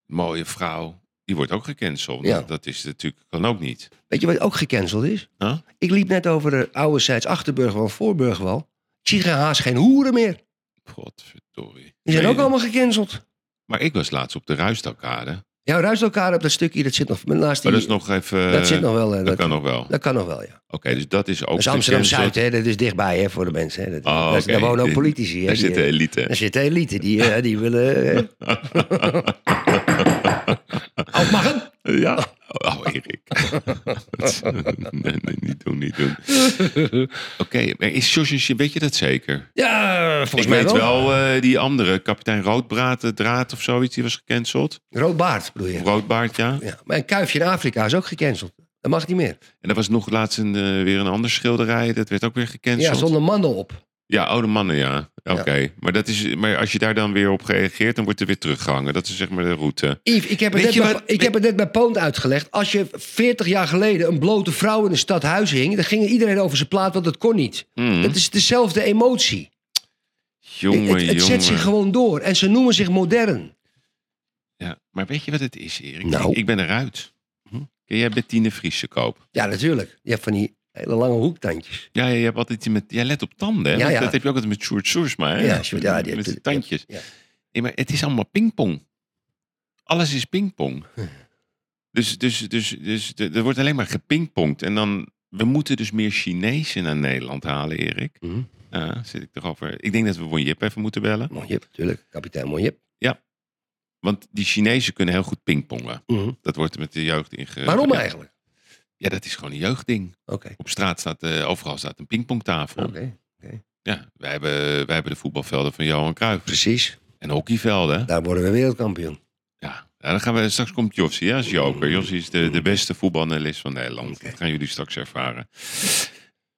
Mooie vrouw. Die wordt ook gecanceld. Ja. Dat is natuurlijk, kan ook niet. Weet je wat ook gecanceld is? Huh? Ik liep net over de oude zijds Achterburgwal en Voorburgwal. Ik zie geen haast, geen hoeren meer. Godverdorie. Die zijn Nee, ook allemaal gecanceld. Maar ik was laatst op de Ruistalkade. Ja, ruist elkaar op dat stukje, dat zit nog naast die... Maar dat is nog even... dat zit nog wel. eh, dat kan nog wel. Oké, Dat kan nog wel, ja. dus dat is ook Dat is Amsterdam-Zuid, gecanceld. hè. Dat is dichtbij, hè, voor de mensen. Hè. Dat, Oh, daar, oké. daar wonen ook politici, hè. Daar die, zit de eh, elite. [laughs] daar zit de elite. Die, eh, die willen... [laughs] eh, Oh, mag het? Ja. Oh, Erik. [laughs] nee, nee, niet doen, niet doen. Oké, maar is George en Jim- weet je dat zeker? Ja, volgens ik mij weet wel. wel eh, die andere, kapitein Roodbraat, eh, Draad of zoiets, die was gecanceld. Rood baard, bedoel je. Roodbaard, ja. Ja. Maar een kuifje in Afrika is ook gecanceld. Dat mag niet meer. En er was nog laatst een, eh, weer een ander schilderij, dat werd ook weer Ja, gecanceld. zonder mandel op. Ja, oude mannen, ja. Oké, maar, dat is, maar als je daar dan weer op reageert, dan wordt er weer teruggehangen. Dat is zeg maar de route. Yves, ik heb het, Weet net je bij, wat- ik heb het net bij Poont uitgelegd. Als je 40 jaar geleden een blote vrouw in een stadhuis hing... dan ging iedereen over zijn plaat, want dat kon niet. Hmm. Dat is dezelfde emotie. Jongen, het, het jongen. zet zich gewoon door. En ze noemen zich modern. Ja, maar weet je wat het is, Erik? Nou. Hm. Ik, ik ben eruit. Ken jij Bettine Friese koop? Ja, natuurlijk. Je hebt van die hele lange hoektandjes. Ja, ja, je hebt altijd die met... Jij let op tanden, hè? Ja, Want ja. Dat heb je ook altijd met Sjoerd Soersma, hè? Ja, Sjoerd, ja, die heeft met die het- ja, tandjes. ja. Nee, maar het is allemaal pingpong. Alles is [laughs] pingpong. Dus, dus, dus, dus de- er wordt alleen maar gepingpongd. En dan... We moeten dus meer Chinezen naar Nederland halen, Erik. Mhm. Ja, zit ik toch over. Ik denk dat we Won Jip even moeten bellen. Monjip, natuurlijk. Kapitein Monjip. Want die Chinezen kunnen heel goed pingpongen. Mhm. Dat wordt met de jeugd inge... Waarom ja. eigenlijk? Ja, dat is gewoon een jeugdding. Oké. Op straat staat, eh, overal staat een pingpongtafel. Oké. Ja, wij hebben, wij hebben de voetbalvelden van Johan Cruijff. Precies. En hockeyvelden. Daar worden we wereldkampioen. Ja, ja dan gaan we, straks komt Jossi hè, als Mm. joker. Jossi is de, de beste voetbalanalist van Nederland. Dat gaan jullie straks ervaren.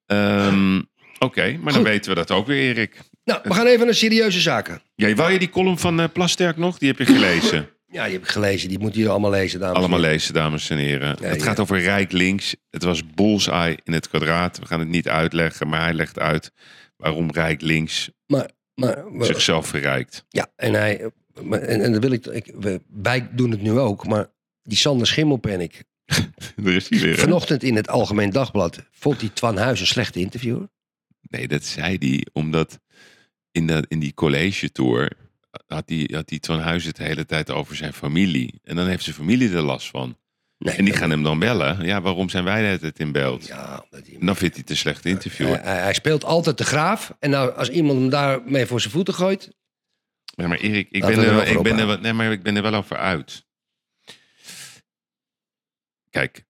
Ehm, Oké, maar dan Goed. weten we dat ook weer, Erik. Nou, we gaan even naar serieuze zaken. Ja, wou je die column van eh, Plasterk nog? Die heb je gelezen. Ja, die heb ik gelezen. Die moeten jullie allemaal lezen, dames. en Allemaal lezen, dames en heren. Ja, het ja. gaat over Rijk links. Het was bullseye in het kwadraat. We gaan het niet uitleggen, maar hij legt uit waarom Rijk links Maar, maar we- zichzelf verrijkt. ja, en hij. maar- En, en dat wil ik, ik. we- Wij doen het nu ook, maar die Sander Schimmelpenninck. Er is hij weer. hè? Vanochtend in het Algemeen Dagblad vond die Twan Huis een slechte interviewer. Nee, dat zei hij omdat in, dat, in die college tour eh, had die, had die Twan Huis het de hele tijd over zijn familie. En dan heeft zijn familie er last van. Nee, En die dat- gaan hem dan bellen. Ja, waarom zijn wij het in beeld? Ja, dat die- En dan vindt hij het een slecht interview. Eh, hij, hij- hij speelt altijd de graaf. En nou, als iemand hem daarmee voor zijn voeten gooit. Ja, maar Erik, ik Laten ben, we er, er wel- wel voor ik, ben er, ophouden. wel- nee, maar ik ben er wel over uit. Kijk,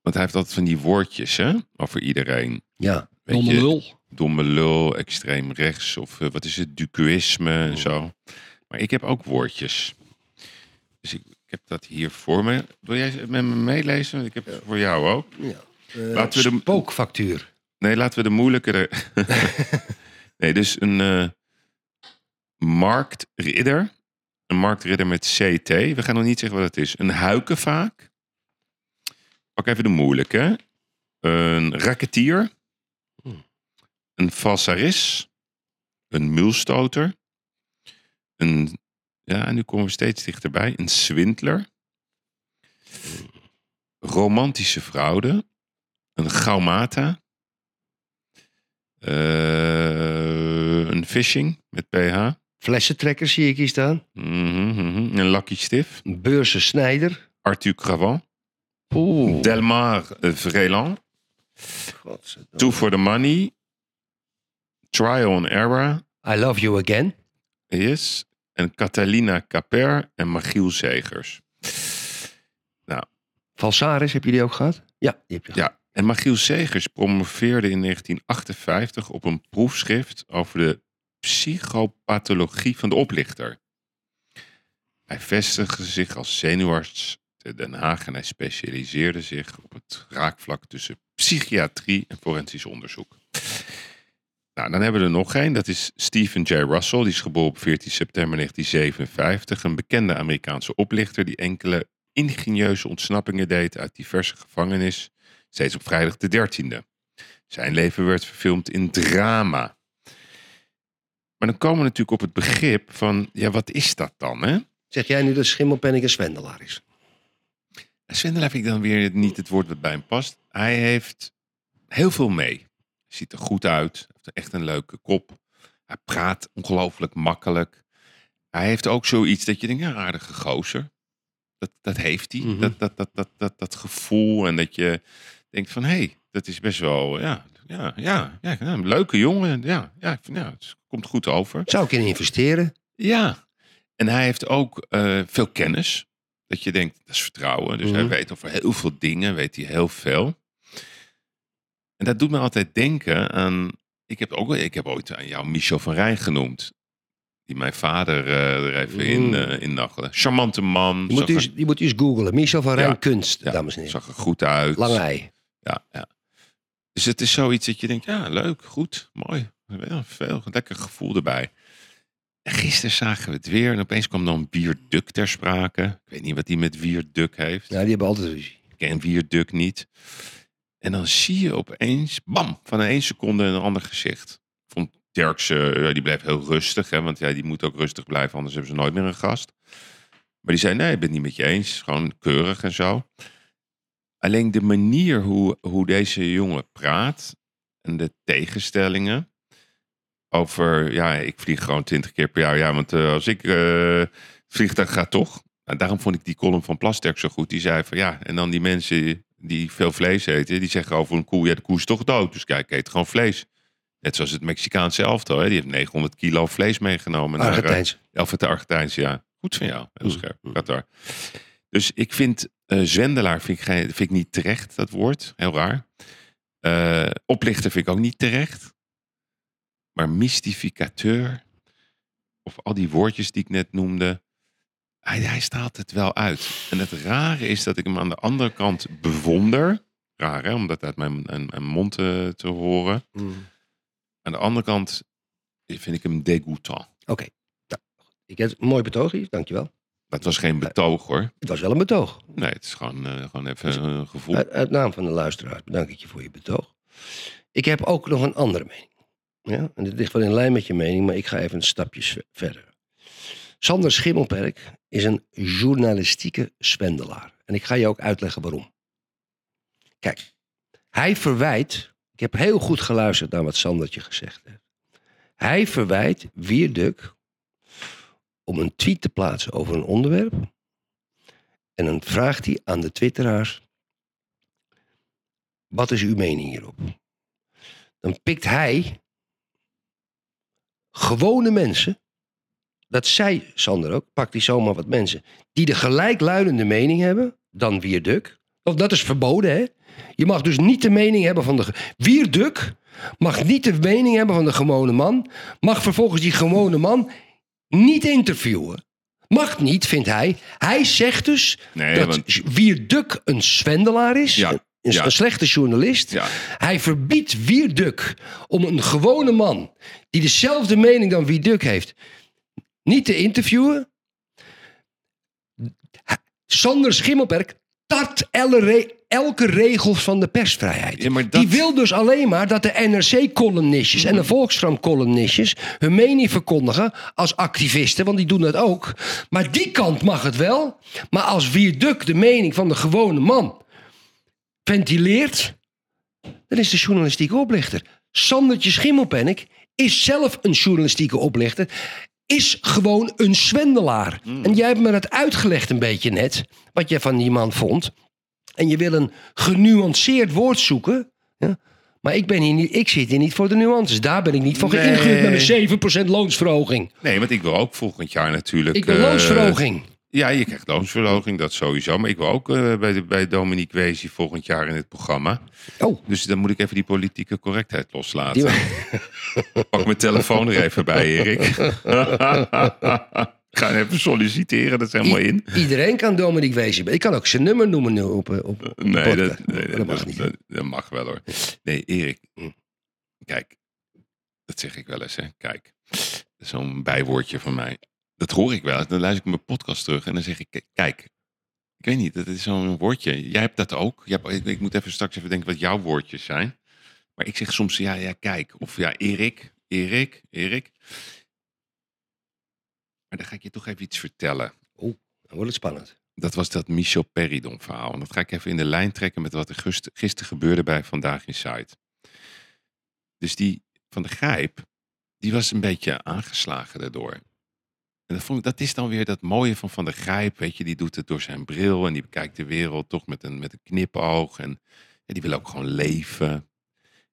want hij heeft altijd van die woordjes, hè? Over iedereen. Ja, Weet je, Domme lul, extreem rechts of eh, wat is het, ducuïsme en zo. Maar ik heb ook woordjes. Dus ik, ik heb dat hier voor me. Wil jij met me meelezen? Want ik heb het voor jou ook. eh, Laten we de- spookfactuur. Nee, laten we de moeilijkere. nee, dus een eh, marktridder. Een marktridder met CT. We gaan nog niet zeggen wat het is. Een huikenvaak. Pak even de moeilijke. Een racketier. Een falsaris. Een mulstoter. Een, ja, en nu komen we steeds dichterbij. Een swindler. Romantische fraude. Een gaumata. Eh, een phishing met PH. Flessentrekker zie ik hier staan. Mhm, mhm. Een Lucky Stiff. Een Beursensnijder. Arthur Cravant. Oeh. Delmar eh, Vreeland. Two for the Money. Trial and Error. I love you again. Yes. En Catalina Caper en Magiel Zegers. Valsaris, heb je die ook gehad? Ja, die heb je gehad. Ja, en Magiel Segers promoveerde in 1958 op een proefschrift over de psychopathologie van de oplichter. Hij vestigde zich als zenuwarts te Den Haag en hij specialiseerde zich op het raakvlak tussen psychiatrie en forensisch onderzoek. Nou, dan hebben we er nog één. Dat is Stephen J. Russell. Die is geboren op 14 september 1957. Een bekende Amerikaanse oplichter die enkele ingenieuze ontsnappingen deed uit diverse gevangenis steeds op vrijdag de 13e. Zijn leven werd verfilmd in drama. Maar dan komen we natuurlijk op het begrip van, ja, wat is dat dan, hè? Zeg jij nu dat Schimmelpenninck een zwendelaar is? Swindelaar vind ik dan weer niet het woord wat bij hem past. Hij heeft heel veel mee. Ziet er goed uit. Heeft echt een leuke kop. Hij praat ongelooflijk makkelijk. Hij heeft ook zoiets dat je denkt, ja, aardige gozer. Dat, dat heeft hij. Mhm. dat, dat, dat, dat, dat, dat gevoel. En dat je denkt van, hé, hey, dat is best wel, ja, ja, ja, ja, ja, een leuke jongen. Ja, ja, ik vind- ja, het komt goed over. Zou ik in investeren? Ja, en hij heeft ook eh, veel kennis. Dat je denkt, dat is vertrouwen. Dus hij Mhm. weet over heel veel dingen, weet hij heel veel. En dat doet me altijd denken aan... Ik heb, ook, ik heb ooit aan jou Michel van Rijn genoemd. Die mijn vader eh, er even in, Mm. eh in nachtelde. Charmante man. Je moet, Zag u er, eens, je moet u eens googlen. Michel van Rijn Ja. Kunst, Ja. dames en heren. zag er goed uit. Lange ei. Ja, ja. Dus het is zoiets dat je denkt, ja, leuk, goed, mooi. Ja, veel, lekker gevoel erbij. En gisteren zagen we het weer en opeens kwam dan Wierduk ter sprake. Ik weet niet wat hij met Wierduk heeft. Ja, die hebben altijd ruzie. Ik ken Wierduk niet. En dan zie je opeens, bam, van de één seconde een ander gezicht. Ik vond Derksen, eh, die bleef heel rustig, hè, want ja, die moet ook rustig blijven, anders hebben ze nooit meer een gast. Maar die zei, nee, ik ben het niet met je eens, gewoon keurig en zo. Alleen de manier hoe, hoe deze jongen praat en de tegenstellingen over, ja, ik vlieg gewoon twintig keer per jaar. Ja, want eh, als ik eh, het vliegtuig ga, toch? Nou, daarom vond ik die column van Plasterk zo goed. Die zei van ja, en dan die mensen die veel vlees eten, die zeggen over een koe, ja, de koe is toch dood. Dus kijk, eet gewoon vlees. Net zoals het Mexicaanse elftal, hè? die heeft 900 kilo vlees meegenomen. Ah, naar, eh, Argentijns. of het de Argentijnse, ja. Goed van jou. Heel scherp. Qatar. Dus ik vind eh, zwendelaar vind ik, geen- vind ik niet terecht, dat woord. Heel raar. Eh, oplichter vind ik ook niet terecht. Maar mystificateur. Of al die woordjes die ik net noemde. Hij, hij staat het wel uit. En het rare is dat ik hem aan de andere kant bewonder. Raar Mm. hè, om dat uit mijn, mijn- mijn mond eh, te horen. Aan de andere kant vind ik hem degoutant. Ik heb een mooi betoog hier, dankjewel. Dat was geen betoog hoor. Het was wel een betoog. Nee, het is gewoon, eh, gewoon even een gevoel. Uit, uit naam van de luisteraars bedank ik je voor je betoog. Ik heb ook nog een andere mening. Ja? En dit ligt wel in lijn met je mening, maar ik ga even een stapje s- verder. Sander Schimmelperk is een journalistieke zwendelaar. En ik ga je ook uitleggen waarom. Kijk, hij verwijt. Ik heb heel goed geluisterd naar wat Sandertje gezegd heeft. Hij verwijt Wierduk om een tweet te plaatsen over een onderwerp. En dan vraagt hij aan de twitteraars wat is uw mening hierop? Dan pikt hij gewone mensen, dat zei Sander ook, pakt hij zomaar wat mensen, die de gelijkluidende mening hebben, dan Wierduk. Of dat is verboden, hè? Je mag dus niet de mening hebben van de. ge- Wierduk mag niet de mening hebben van de gewone man, mag vervolgens die gewone man niet interviewen. Mag niet, vindt hij. Hij zegt dus Nee, dat want- Wierduk een zwendelaar is, Ja, een, een ja. slechte journalist. Ja. Hij verbiedt Wierduk om een gewone man die dezelfde mening dan Wierduk heeft, niet te interviewen. Sander Schimmelberg tart elle re- elke regel van de persvrijheid. Ja, maar dat- Die wil dus alleen maar dat de NRC-columnistjes en de Volkskrant-columnistjes hun mening verkondigen als activisten, want die doen dat ook. Maar die kant mag het wel. Maar als Wierduk de mening van de gewone man ventileert, dan is de journalistieke oplichter. Sandertje Schimmelpennik is zelf een journalistieke oplichter. Is gewoon een zwendelaar. Mm. En jij hebt me dat uitgelegd een beetje net. Wat jij van die man vond. En je wil een genuanceerd woord zoeken. Ja? Maar ik, ben hier niet, ik zit hier niet voor de nuances. Daar ben ik niet voor Nee. geïngehuurd met een 7% loonsverhoging. Nee, want ik wil ook volgend jaar natuurlijk... Ik wil eh, loonsverhoging. Ja, je krijgt loonsverhoging, dat sowieso. Maar ik wil ook eh, bij, de- bij Dominique Weesy volgend jaar in het programma. Oh, Dus dan moet ik even die politieke correctheid [laughs] loslaten. Pak mijn telefoon er even bij, Erik. [laughs] Ik ga even solliciteren, dat is helemaal i- in. iedereen kan Dominique Wezen. Ik kan ook zijn nummer noemen nu op, eh, op, op een Nee, podcast. dat, nee, Maar dat- dat mag niet. Hm. Dat, dat mag wel hoor. Nee, Erik. Kijk, dat zeg ik wel eens. Hè. Kijk, zo'n bijwoordje van mij. Dat hoor ik wel. eens. Dan luister ik mijn podcast terug en dan zeg ik, k- kijk. Ik weet niet, dat is zo'n woordje. Jij hebt dat ook. Jij hebt- ik, ik moet even straks even denken wat jouw woordjes zijn. Maar ik zeg soms, ja, ja, kijk. Of ja, Erik, Erik, Erik. Maar dan ga ik je toch even iets vertellen. Dan wordt het spannend. Dat was dat Michel Peridon verhaal. En dat ga ik even in de lijn trekken met wat er gust- gisteren gebeurde bij Vandaag in Zuid. Dus die van de Grijp, die was een beetje aangeslagen daardoor. En dat, vond ik, dat is dan weer dat mooie van Van der Grijp. Weet je, die doet het door zijn bril en die bekijkt de wereld toch met een, met een knipoog. En ja, die wil ook gewoon leven.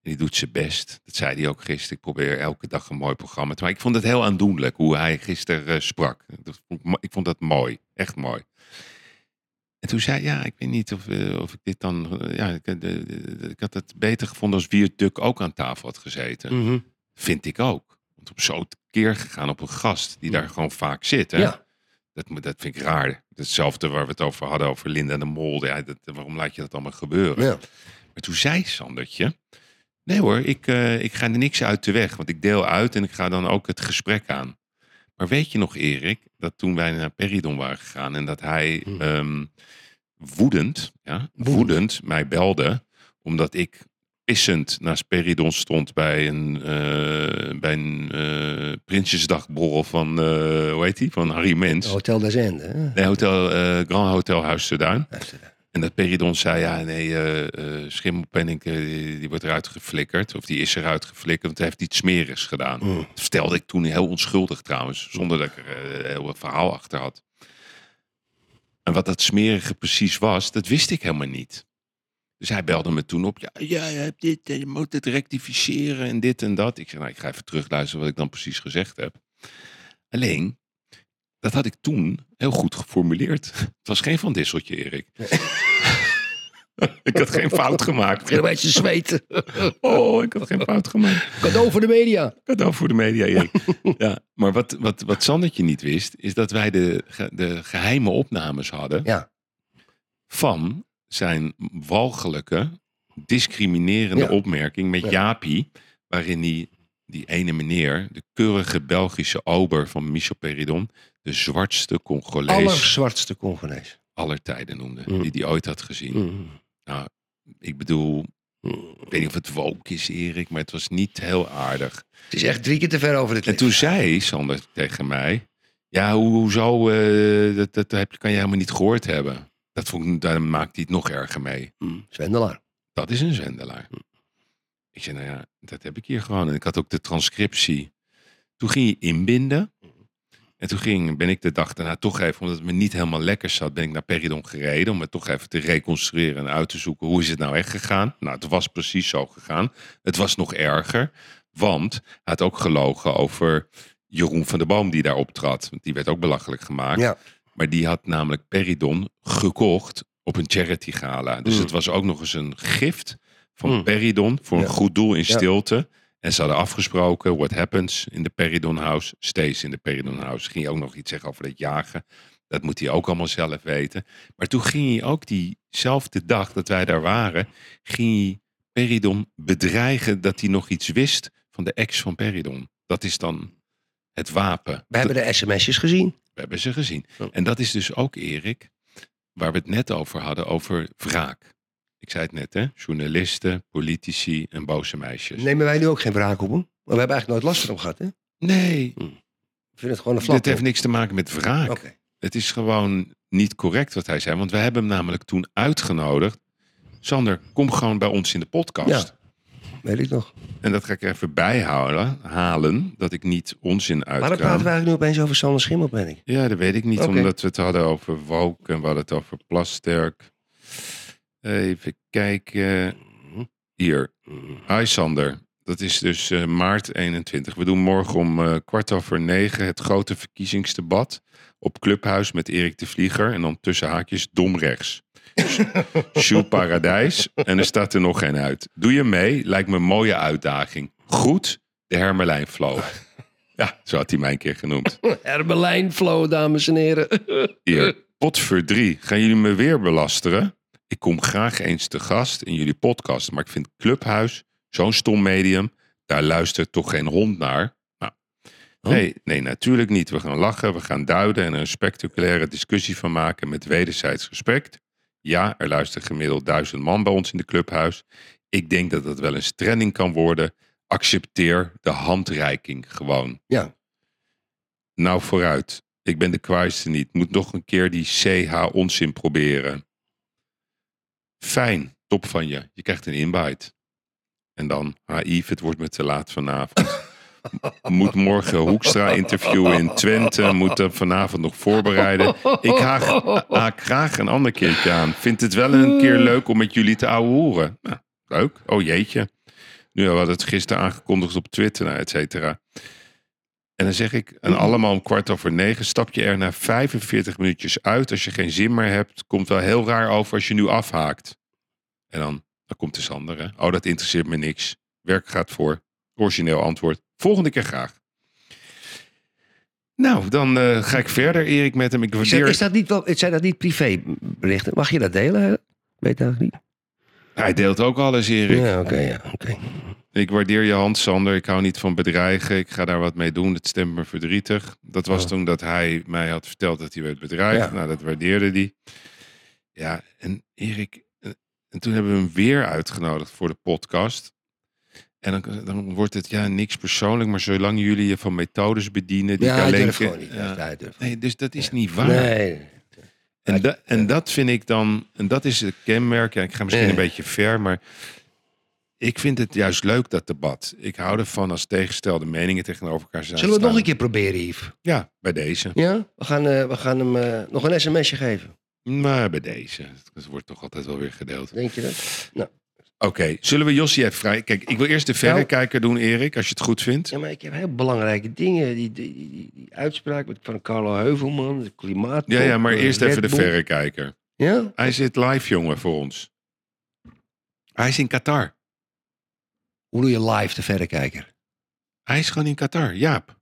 En die doet zijn best. Dat zei hij ook gisteren. Ik probeer elke dag een mooi programma te maken. Ik vond het heel aandoenlijk hoe hij gisteren eh, sprak. Dat vond ik, mo- ik vond dat mooi. Echt mooi. En toen zei hij, ja, ik weet niet of, eh, of ik dit dan... eh, Ja, ik, eh, de- de- de- ik had het beter gevonden als Wierduk ook aan tafel had Mm. gezeten. Mhm. Vind ik ook. Want op zo'n keer gegaan op een gast die daar gewoon vaak zit. Hè? Ja. Dat, moet- dat vind ik raar. Hetzelfde waar we het over hadden, over Linda de Mol. Ja, dat, waarom laat je dat allemaal gebeuren? Ja. Maar toen zei Sandertje... Nee hoor, ik, eh, ik ga er niks uit de weg. Want ik deel uit en ik ga dan ook het gesprek aan. Maar weet je nog, Erik, dat toen wij naar Peridon waren gegaan... en dat hij Hm. ehm, woedend, ja, Woedend. woedend mij belde... omdat ik pissend naast Peridon stond bij een, eh, bij een eh, Prinsjesdagborrel van... eh, hoe heet die? Van Harry Mens. Hotel des Ende. hè? Nee, hotel, eh, Grand Hotel Huis te Duin. En dat Peridon zei, ja, nee, eh eh Schimmelpenninck, eh, die, die wordt eruit geflikkerd. Of die is eruit geflikkerd, want hij heeft iets smerigs gedaan. Mm. Dat vertelde ik toen heel onschuldig trouwens. Zonder dat ik er eh, heel wat verhaal achter had. En wat dat smerige precies was, dat wist ik helemaal niet. Dus hij belde me toen op. Ja, ja je hebt dit en je moet het rectificeren en dit en dat. Ik zei, nou, ik ga even terugluisteren wat ik dan precies gezegd heb. Alleen, dat had ik toen heel goed geformuleerd. [laughs] Het was geen Van Disseltje, Erik. [laughs] ik had geen fout gemaakt. [laughs] Ik een beetje zweten. Oh, ik had geen fout gemaakt. Cadeau voor de media. Cadeau voor de media, Erik. ja, maar wat, wat, wat Sandertje niet wist, is dat wij de, ge- de geheime opnames hadden Ja. van zijn walgelijke, discriminerende Ja. opmerking met Ja. Jaapie, waarin hij die ene meneer, de keurige Belgische ober van Michel Peridon, de zwartste Congolees Allerzwartste Congolees. aller tijden noemde, Mm. die die ooit had gezien. Mm. Ik bedoel, Mm. ik weet niet of het woke is, Erik, maar het was niet heel aardig. Het is echt drie keer te ver over de En klip. toen zei Sander tegen mij, ja, hoe- hoezo, eh, dat, dat heb, je- kan je helemaal niet gehoord hebben. Dat vond ik, daar maakt hij het nog erger mee. Mm. Zwendelaar. Dat is een zendelaar. Ik zei, nou ja, dat heb ik hier gewoon. En ik had ook de transcriptie. Toen ging je inbinden. En toen ging, ben ik de dag daarna toch even, omdat het me niet helemaal lekker zat, ben ik naar Peridon gereden. Om het toch even te reconstrueren en uit te zoeken. Hoe is het nou echt gegaan? Nou, het was precies zo gegaan. Het was nog erger. Want hij had ook gelogen over Jeroen van der Boom die daar optrad. Want die werd ook belachelijk gemaakt. Ja. Maar die had namelijk Peridon gekocht op een charity gala. Dus Mm. het was ook nog eens een gift van Mm. Peridon voor Ja. een goed doel in Ja. stilte. En ze hadden afgesproken, what happens in de Peridon House, steeds in de Peridon House. Ging je ook nog iets zeggen over het jagen. Dat moet hij ook allemaal zelf weten. Maar toen ging hij ook diezelfde dag dat wij daar waren, ging hij Peridon bedreigen dat hij nog iets wist van de ex van Peridon. Dat is dan het wapen. We hebben de sms'jes gezien. We hebben ze gezien. Ja. En dat is dus ook, Erik, waar we het net over hadden, over wraak. Ik zei het net, hè? Journalisten, politici en boze meisjes. Nemen wij nu ook geen wraak op hem? Maar we hebben eigenlijk nooit last van gehad, hè? Ik Nee, vind het gewoon een flap. dit heeft niks te maken met wraak. Oké. Het is gewoon niet correct wat hij zei. Want we hebben hem namelijk toen uitgenodigd. Sander, kom gewoon bij ons in de podcast. Ja. Weet ik nog. En dat ga ik er even bijhouden, halen, dat ik niet onzin Maar dan uitkraam. praten we eigenlijk nu opeens over Sander Schimmel, ben ik. Ja, dat weet ik niet, Oké. omdat we het hadden over Woke en we hadden het over Plasterk. Even kijken. Hier. Hi Sander. Dat is dus eh, maart 21. We doen morgen om eh, kwart over negen het grote verkiezingsdebat op Clubhuis met Erik de Vlieger en dan tussen haakjes domrechts. Sjoe Paradijs. En er staat er nog geen uit. Doe je mee? Lijkt me een mooie uitdaging. Goed, de Hermelijn Flow. Ja, zo had hij mij een keer genoemd. Herbelijn Flow, dames en heren. Hier, potverdrie. Gaan jullie me weer belasteren? Ik kom graag eens te gast in jullie podcast. Maar ik vind Clubhuis zo'n stom medium. Daar luistert toch geen hond naar? Nou, nee, nee, natuurlijk niet. We gaan lachen, we gaan duiden en er een spectaculaire discussie van maken met wederzijds respect. Ja, er luistert gemiddeld duizend man bij ons in de Clubhuis. Ik denk dat dat wel eens trending kan worden. Accepteer de handreiking gewoon. Ja. Nou vooruit. Ik ben de kwaaiste niet. Moet nog een keer die CH-onzin proberen. Fijn. Top van je. Je krijgt een invite. En dan, Haïf, het wordt me te laat vanavond. M- Moet morgen Hoekstra interviewen in Twente. Moet hem vanavond nog voorbereiden. Ik haak, haak graag een ander keertje aan. Vindt het wel een keer leuk om met jullie te ouwehoeren. Nou, leuk. Oh jeetje. Nu we hadden het gisteren aangekondigd op Twitter, nou, et cetera. En dan zeg ik, Mhm. en allemaal om kwart over negen, stap je er na 45 minuutjes uit. Als je geen zin meer hebt, komt wel heel raar over als je nu afhaakt. En dan, dan komt de Sander, hè. Oh, dat interesseert me niks. Werk gaat voor. Origineel antwoord. Volgende keer graag. Nou, dan eh, ga ik verder, Erik, met hem. Ik Is dat, waardeer... is dat niet wel, zijn dat niet privéberichten? Mag je dat delen? hè? Weet eigenlijk niet. Hij deelt ook alles, Erik. Ja, oké. ja, oké. Ik waardeer je hand, Sander. Ik hou niet van bedreigen. Ik ga daar wat mee doen. Het stemt me verdrietig. Dat was Oh. toen dat hij mij had verteld dat hij werd bedreigd. Ja. Nou, dat waardeerde hij. Ja, en Erik... eh, En toen hebben we hem weer uitgenodigd voor de podcast. En dan, dan wordt het, ja, niks persoonlijk. Maar zolang jullie je van methodes bedienen... Die Ja, hij alleen durft gewoon niet. Ja. Hij durft. Nee, dus dat is niet waar. Nee. En, da- en dat vind ik dan, en dat is het kenmerk. Ja, ik ga misschien Ja. een beetje ver, maar ik vind het juist leuk dat debat. Ik hou ervan als tegengestelde meningen tegenover elkaar zijn. Zullen we het nog een staan. keer proberen, Yves? Ja, bij deze. Ja? We gaan, eh, we gaan hem eh, nog een sms'je geven. Maar bij deze. Het wordt toch altijd wel weer gedeeld. Denk je dat? Oké, zullen we Jossie even vrij. Kijk, ik wil eerst Nou. de verrekijker doen, Erik, als je het goed vindt. Ja, maar ik heb heel belangrijke dingen. Die, die, die, die- die uitspraak met- van Carlo Heuvelman, de klimaat. Ja, ja, maar eh, eerst Red even de Bull. verrekijker. Ja? Hij zit live, jongen, voor ons. Hij is in Qatar. Hoe doe je live de verrekijker? Hij is gewoon in Qatar, Jaap.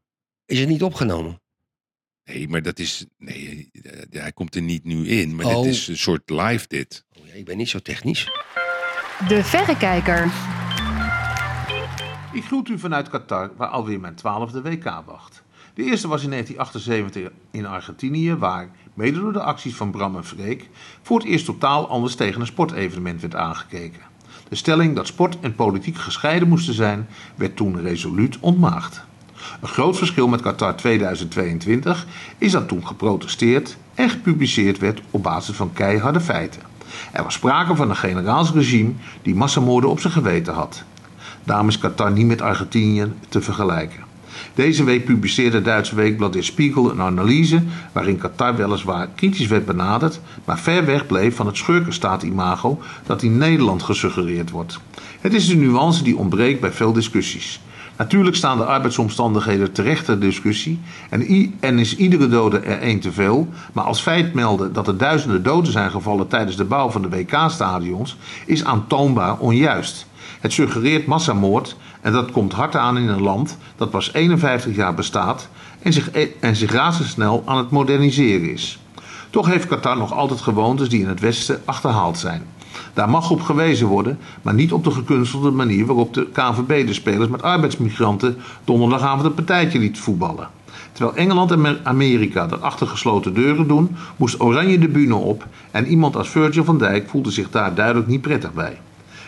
Is het niet opgenomen? Nee, maar dat is. Nee, eh, hij komt er niet nu in. Maar Oh. dit is een soort live, dit. Oh, ja, ik ben niet zo technisch. De Verrekijker. Ik groet u vanuit Qatar, waar alweer mijn twaalfde WK wacht. De eerste was in 1978 in Argentinië, waar, mede door de acties van Bram en Freek, voor het eerst totaal anders tegen een sportevenement werd aangekeken. De stelling dat sport en politiek gescheiden moesten zijn, werd toen resoluut ontmaagd. Een groot verschil met Qatar 2022 is dat toen geprotesteerd en gepubliceerd werd op basis van keiharde feiten. Er was sprake van een generaalsregime die massamoorden op zijn geweten had. Daarom is Qatar niet met Argentinië te vergelijken. Deze week publiceerde het Duitse weekblad Der Spiegel een analyse waarin Qatar weliswaar kritisch werd benaderd, maar ver weg bleef van het schurkenstaat-imago dat in Nederland gesuggereerd wordt. Het is de nuance die ontbreekt bij veel discussies. Natuurlijk staan de arbeidsomstandigheden terecht ter discussie en, i- en is iedere dode er één te veel, maar als feit melden dat er duizenden doden zijn gevallen tijdens de bouw van de WK-stadions is aantoonbaar onjuist. Het suggereert massamoord en dat komt hard aan in een land dat pas 51 jaar bestaat en zich, e- en zich razendsnel aan het moderniseren is. Toch heeft Qatar nog altijd gewoontes die in het Westen achterhaald zijn. Daar mag op gewezen worden, maar niet op de gekunstelde manier waarop de KNVB de spelers met arbeidsmigranten donderdagavond een partijtje liet voetballen. Terwijl Engeland en Mer- Amerika dat achter gesloten deuren doen, moest Oranje de bühne op en iemand als Virgil van Dijk voelde zich daar duidelijk niet prettig bij.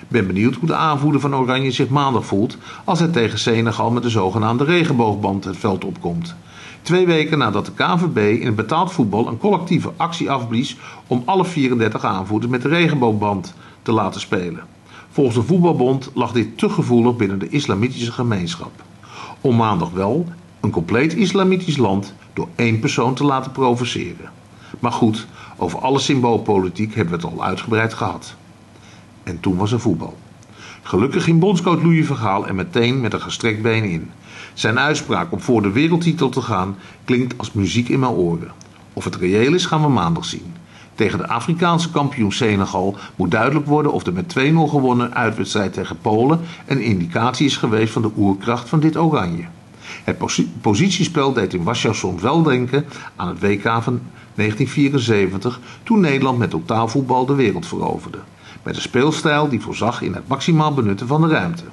Ik ben benieuwd hoe de aanvoerder van Oranje zich maandag voelt als hij tegen Senegal met de zogenaamde regenboogband het veld opkomt. Twee weken nadat de KNVB in het betaald voetbal een collectieve actie afblies om alle 34 aanvoerders met de regenboogband te laten spelen. Volgens de voetbalbond lag dit te gevoelig binnen de islamitische gemeenschap. Om maandag wel een compleet islamitisch land door één persoon te laten provoceren. Maar goed, over alle symboolpolitiek hebben we het al uitgebreid gehad. En toen was er voetbal. Gelukkig ging bondscoach Louis Vergaal en meteen met een gestrekt been in. Zijn uitspraak om voor de wereldtitel te gaan klinkt als muziek in mijn oren. Of het reëel is gaan we maandag zien. Tegen de Afrikaanse kampioen Senegal moet duidelijk worden of de met 2-0 gewonnen uitwedstrijd tegen Polen een indicatie is geweest van de oerkracht van dit oranje. Het posi- positiespel deed in Warschau soms wel denken aan het WK van 1974, toen Nederland met totaalvoetbal de wereld veroverde. Met een speelstijl die voorzag in het maximaal benutten van de ruimte.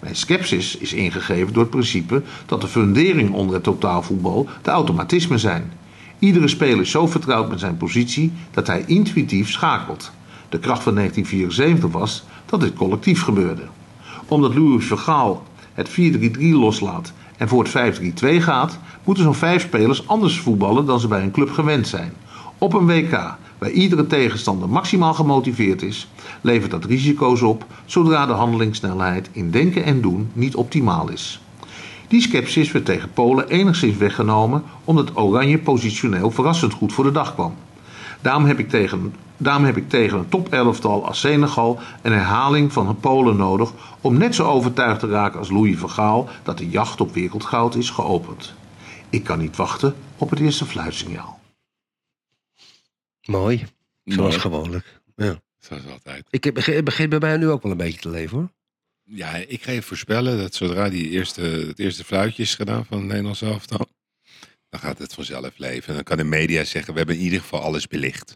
Mijn scepsis is ingegeven door het principe dat de fundering onder het totaalvoetbal de automatismen zijn. Iedere speler is zo vertrouwd met zijn positie dat hij intuïtief schakelt. De kracht van 1974 was dat dit collectief gebeurde. Omdat Louis Vergaal het 4-3-3 loslaat en voor het 5-3-2 gaat, moeten zo'n vijf spelers anders voetballen dan ze bij een club gewend zijn. Op een WK, waar iedere tegenstander maximaal gemotiveerd is, levert dat risico's op zodra de handelingssnelheid in denken en doen niet optimaal is. Die scepsis werd tegen Polen enigszins weggenomen omdat Oranje positioneel verrassend goed voor de dag kwam. Daarom heb ik tegen, daarom heb ik tegen een top-elftal als Senegal een herhaling van Polen nodig om net zo overtuigd te raken als Louis van Gaal dat de jacht op wereldgoud is geopend. Ik kan niet wachten op het eerste fluitsignaal. Mooi. Zoals Mooi. gewoonlijk. Ja. Zoals altijd. Ik heb, het begint bij mij nu ook wel een beetje te leven hoor. Ja, ik ga je voorspellen dat zodra die eerste, het eerste fluitje is gedaan van het Nederlands elftal, dan gaat het vanzelf leven. En dan kan de media zeggen, we hebben in ieder geval alles belicht.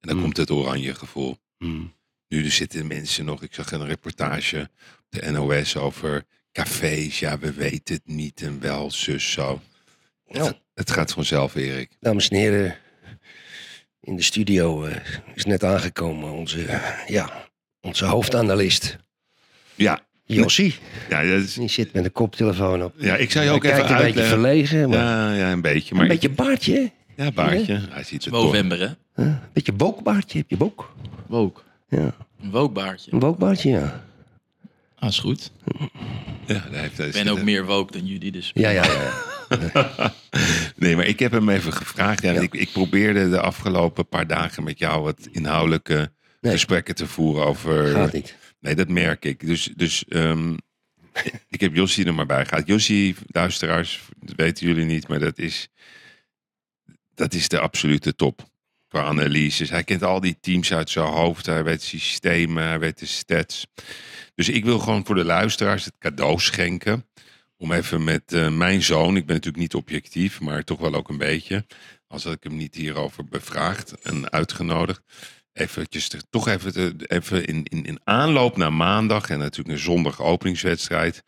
En dan Mm. komt het oranje gevoel. Mm. Nu er zitten mensen nog, ik zag een reportage op de NOS over cafés. Ja, we weten het niet en wel, zus, zo. Ja. Het, het gaat vanzelf, Erik. Nou, Dames en heren, in de studio eh, is net aangekomen onze, eh, ja, onze hoofdanalist Ja, Jossie. ja, dat is- Die zit met een koptelefoon op. ja ik zou je ook Hij even kijkt een beetje uitleggen. verlegen, maar Ja, ja, een beetje. Maar een beetje baardje, hè? ja, baardje. Hij ziet het toch. November, hè? Huh? Een beetje bookbaardje, heb je book? Wook. Ja, Een wookbaardje. een bookbaardje, ja. Ah, is goed. Ja, daar heeft, hij Ik ben ook meer wook dan jullie, dus... Ja, ja, [laughs] ja. Nee, maar ik heb hem even gevraagd. Ja, Ik, ik probeerde de afgelopen paar dagen met jou wat inhoudelijke Nee. gesprekken te voeren over. gaat niet. Nee, dat merk ik. Dus, dus ehm, [laughs] ik heb Jossie er maar bij gehaald. Jossie, luisteraars, dat weten jullie niet, maar dat is, dat is de absolute top qua analyses. Hij kent al die teams uit zijn hoofd. Hij weet systemen, hij weet de stats. Dus ik wil gewoon voor de luisteraars het cadeau schenken. Om even met eh, mijn zoon, ik ben natuurlijk niet objectief, maar toch wel ook een beetje. Als had ik hem niet hierover bevraagd en uitgenodigd. eventjes te- toch even, te- even in, in, in aanloop naar maandag en natuurlijk een zondag openingswedstrijd.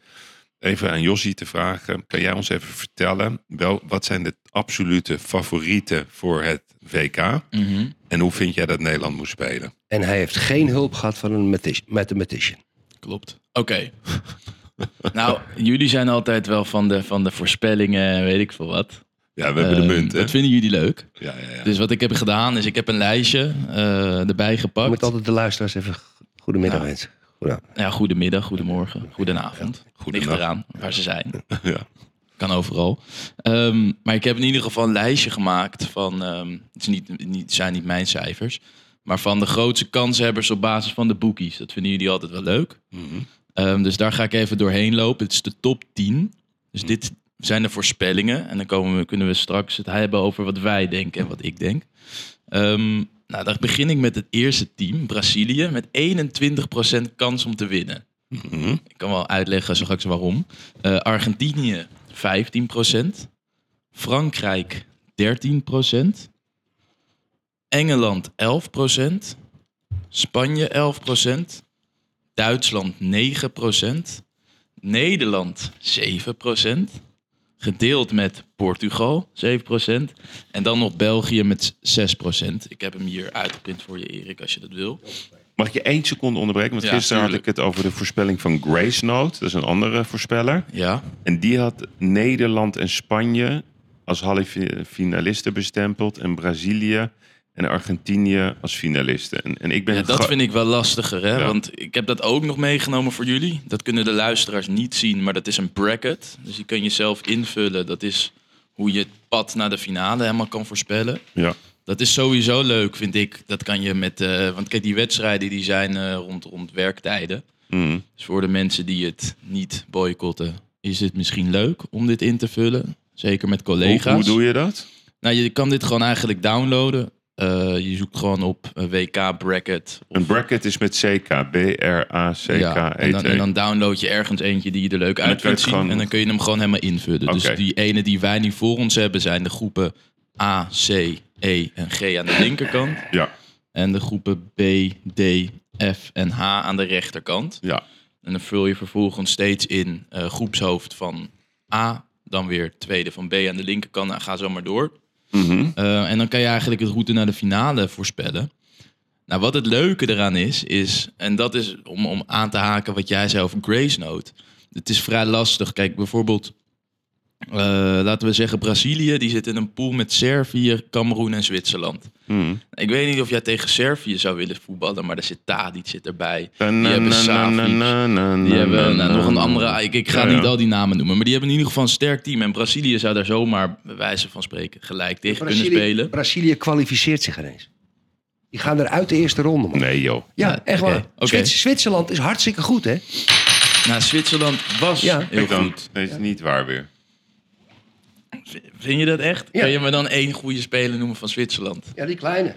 Even aan Jossie te vragen, kan jij ons even vertellen, wel, wat zijn de absolute favorieten voor het WK? Mhm. En hoe vind jij dat Nederland moet spelen? En hij heeft geen hulp gehad van een mathis- mathematician. Klopt. Oké. [laughs] nou, jullie zijn altijd wel van de, van de voorspellingen en weet ik veel wat. Ja, we hebben de Ehm, munt, hè? Dat vinden jullie leuk. Ja, ja, ja. Dus wat ik heb gedaan is, ik heb een lijstje eh, erbij Je gepakt. moet altijd de luisteraars even... Goedemiddag, Ja. mensen. Goedenavond. Ja, goedemiddag, goedemorgen, goedenavond. Ligt Goedendag. eraan waar ze zijn. [laughs] Ja. Kan overal. Ehm, maar ik heb in ieder geval een lijstje gemaakt van, ehm, het is niet, niet, zijn niet mijn cijfers, maar van de grootste kanshebbers op basis van de bookies. Dat vinden jullie altijd wel leuk. Ehm, dus daar ga ik even doorheen lopen. Het is de top 10. Dus dit zijn de voorspellingen. En dan komen we, kunnen we straks het hebben over wat wij denken en wat ik denk. Ehm, nou, dan begin ik met het eerste team, Brazilië, met 21% kans om te winnen. Mhm. Ik kan wel uitleggen straks waarom. Eh, Argentinië 15%. Frankrijk 13%. Engeland 11%. Spanje 11%. Duitsland 9%. Nederland 7%. Gedeeld met Portugal 7%. En dan nog België met 6%. Ik heb hem hier uitgeprint voor je, Erik, als je dat wil. Mag ik je één seconde onderbreken? Want Ja, gisteren had ik tuurlijk. het over de voorspelling van Grace Note. Dat is een andere voorspeller. Ja. En die had Nederland en Spanje als halve finalisten bestempeld. En Brazilië en Argentinië als finalisten. En, en ik ben Ja, dat ge- vind ik wel lastiger, hè? Ja. Want ik heb dat ook nog meegenomen voor jullie. Dat kunnen de luisteraars niet zien, maar dat is een bracket. Dus die kun je zelf invullen. Dat is hoe je het pad naar de finale helemaal kan voorspellen. Ja. Dat is sowieso leuk, vind ik. Dat kan je met... eh, want kijk, die wedstrijden die zijn eh, rond, rond werktijden. Mhm. Dus voor de mensen die het niet boycotten... is het misschien leuk om dit in te vullen. Zeker met Hoe, collega's. hoe doe je dat? Nou, je kan dit gewoon eigenlijk downloaden. Eh, je zoekt gewoon op eh, WK bracket Een bracket is met CK. B-R-A-C-K-E-T. Ja, en E dan, en dan download je ergens eentje die je er leuk dan uit kun je kunt het zien. gewoon- En dan kun je hem gewoon helemaal invullen. Oké. Dus die ene die wij nu voor ons hebben zijn de groepen A, C, E en G aan de linkerkant. Ja, En de groepen B, D, F en H aan de rechterkant. ja. En dan vul je vervolgens steeds in eh, groepshoofd van A, dan weer tweede van B aan de linkerkant. En ga zo maar door. Mhm. Eh, en dan kan je eigenlijk het route naar de finale voorspellen. Nou, wat het leuke eraan is, is, en dat is om, om aan te haken wat jij zei over Grace Note. Het is vrij lastig. Kijk, bijvoorbeeld, eh, laten we zeggen Brazilië, die zit in een pool met Servië, Cameroen en Zwitserland. Mhm. Ik weet niet of jij tegen Servië zou willen voetballen, maar daar zit Tadic zit erbij. Na, na, hebben na, na, Savic. na, na, na, Die hebben nou, na, nog een na. andere. Ik, ik ga Ja, ja. niet al die namen noemen, maar die hebben in ieder geval een sterk team. En Brazilië zou daar zomaar, bij wijze van spreken, gelijk tegen kunnen spelen. Brazilië kwalificeert zich ineens. Die gaan eruit de eerste ronde, man. Nee, joh. Ja, Ja, echt waar. oké, oké. Zwits- Zwitserland is hartstikke goed, hè? Nou, Zwitserland was Ja. heel Ik dan, goed. dat is niet waar weer. Vind je dat echt? Ja. Kun je me dan één goede speler noemen van Zwitserland? Ja, die kleine.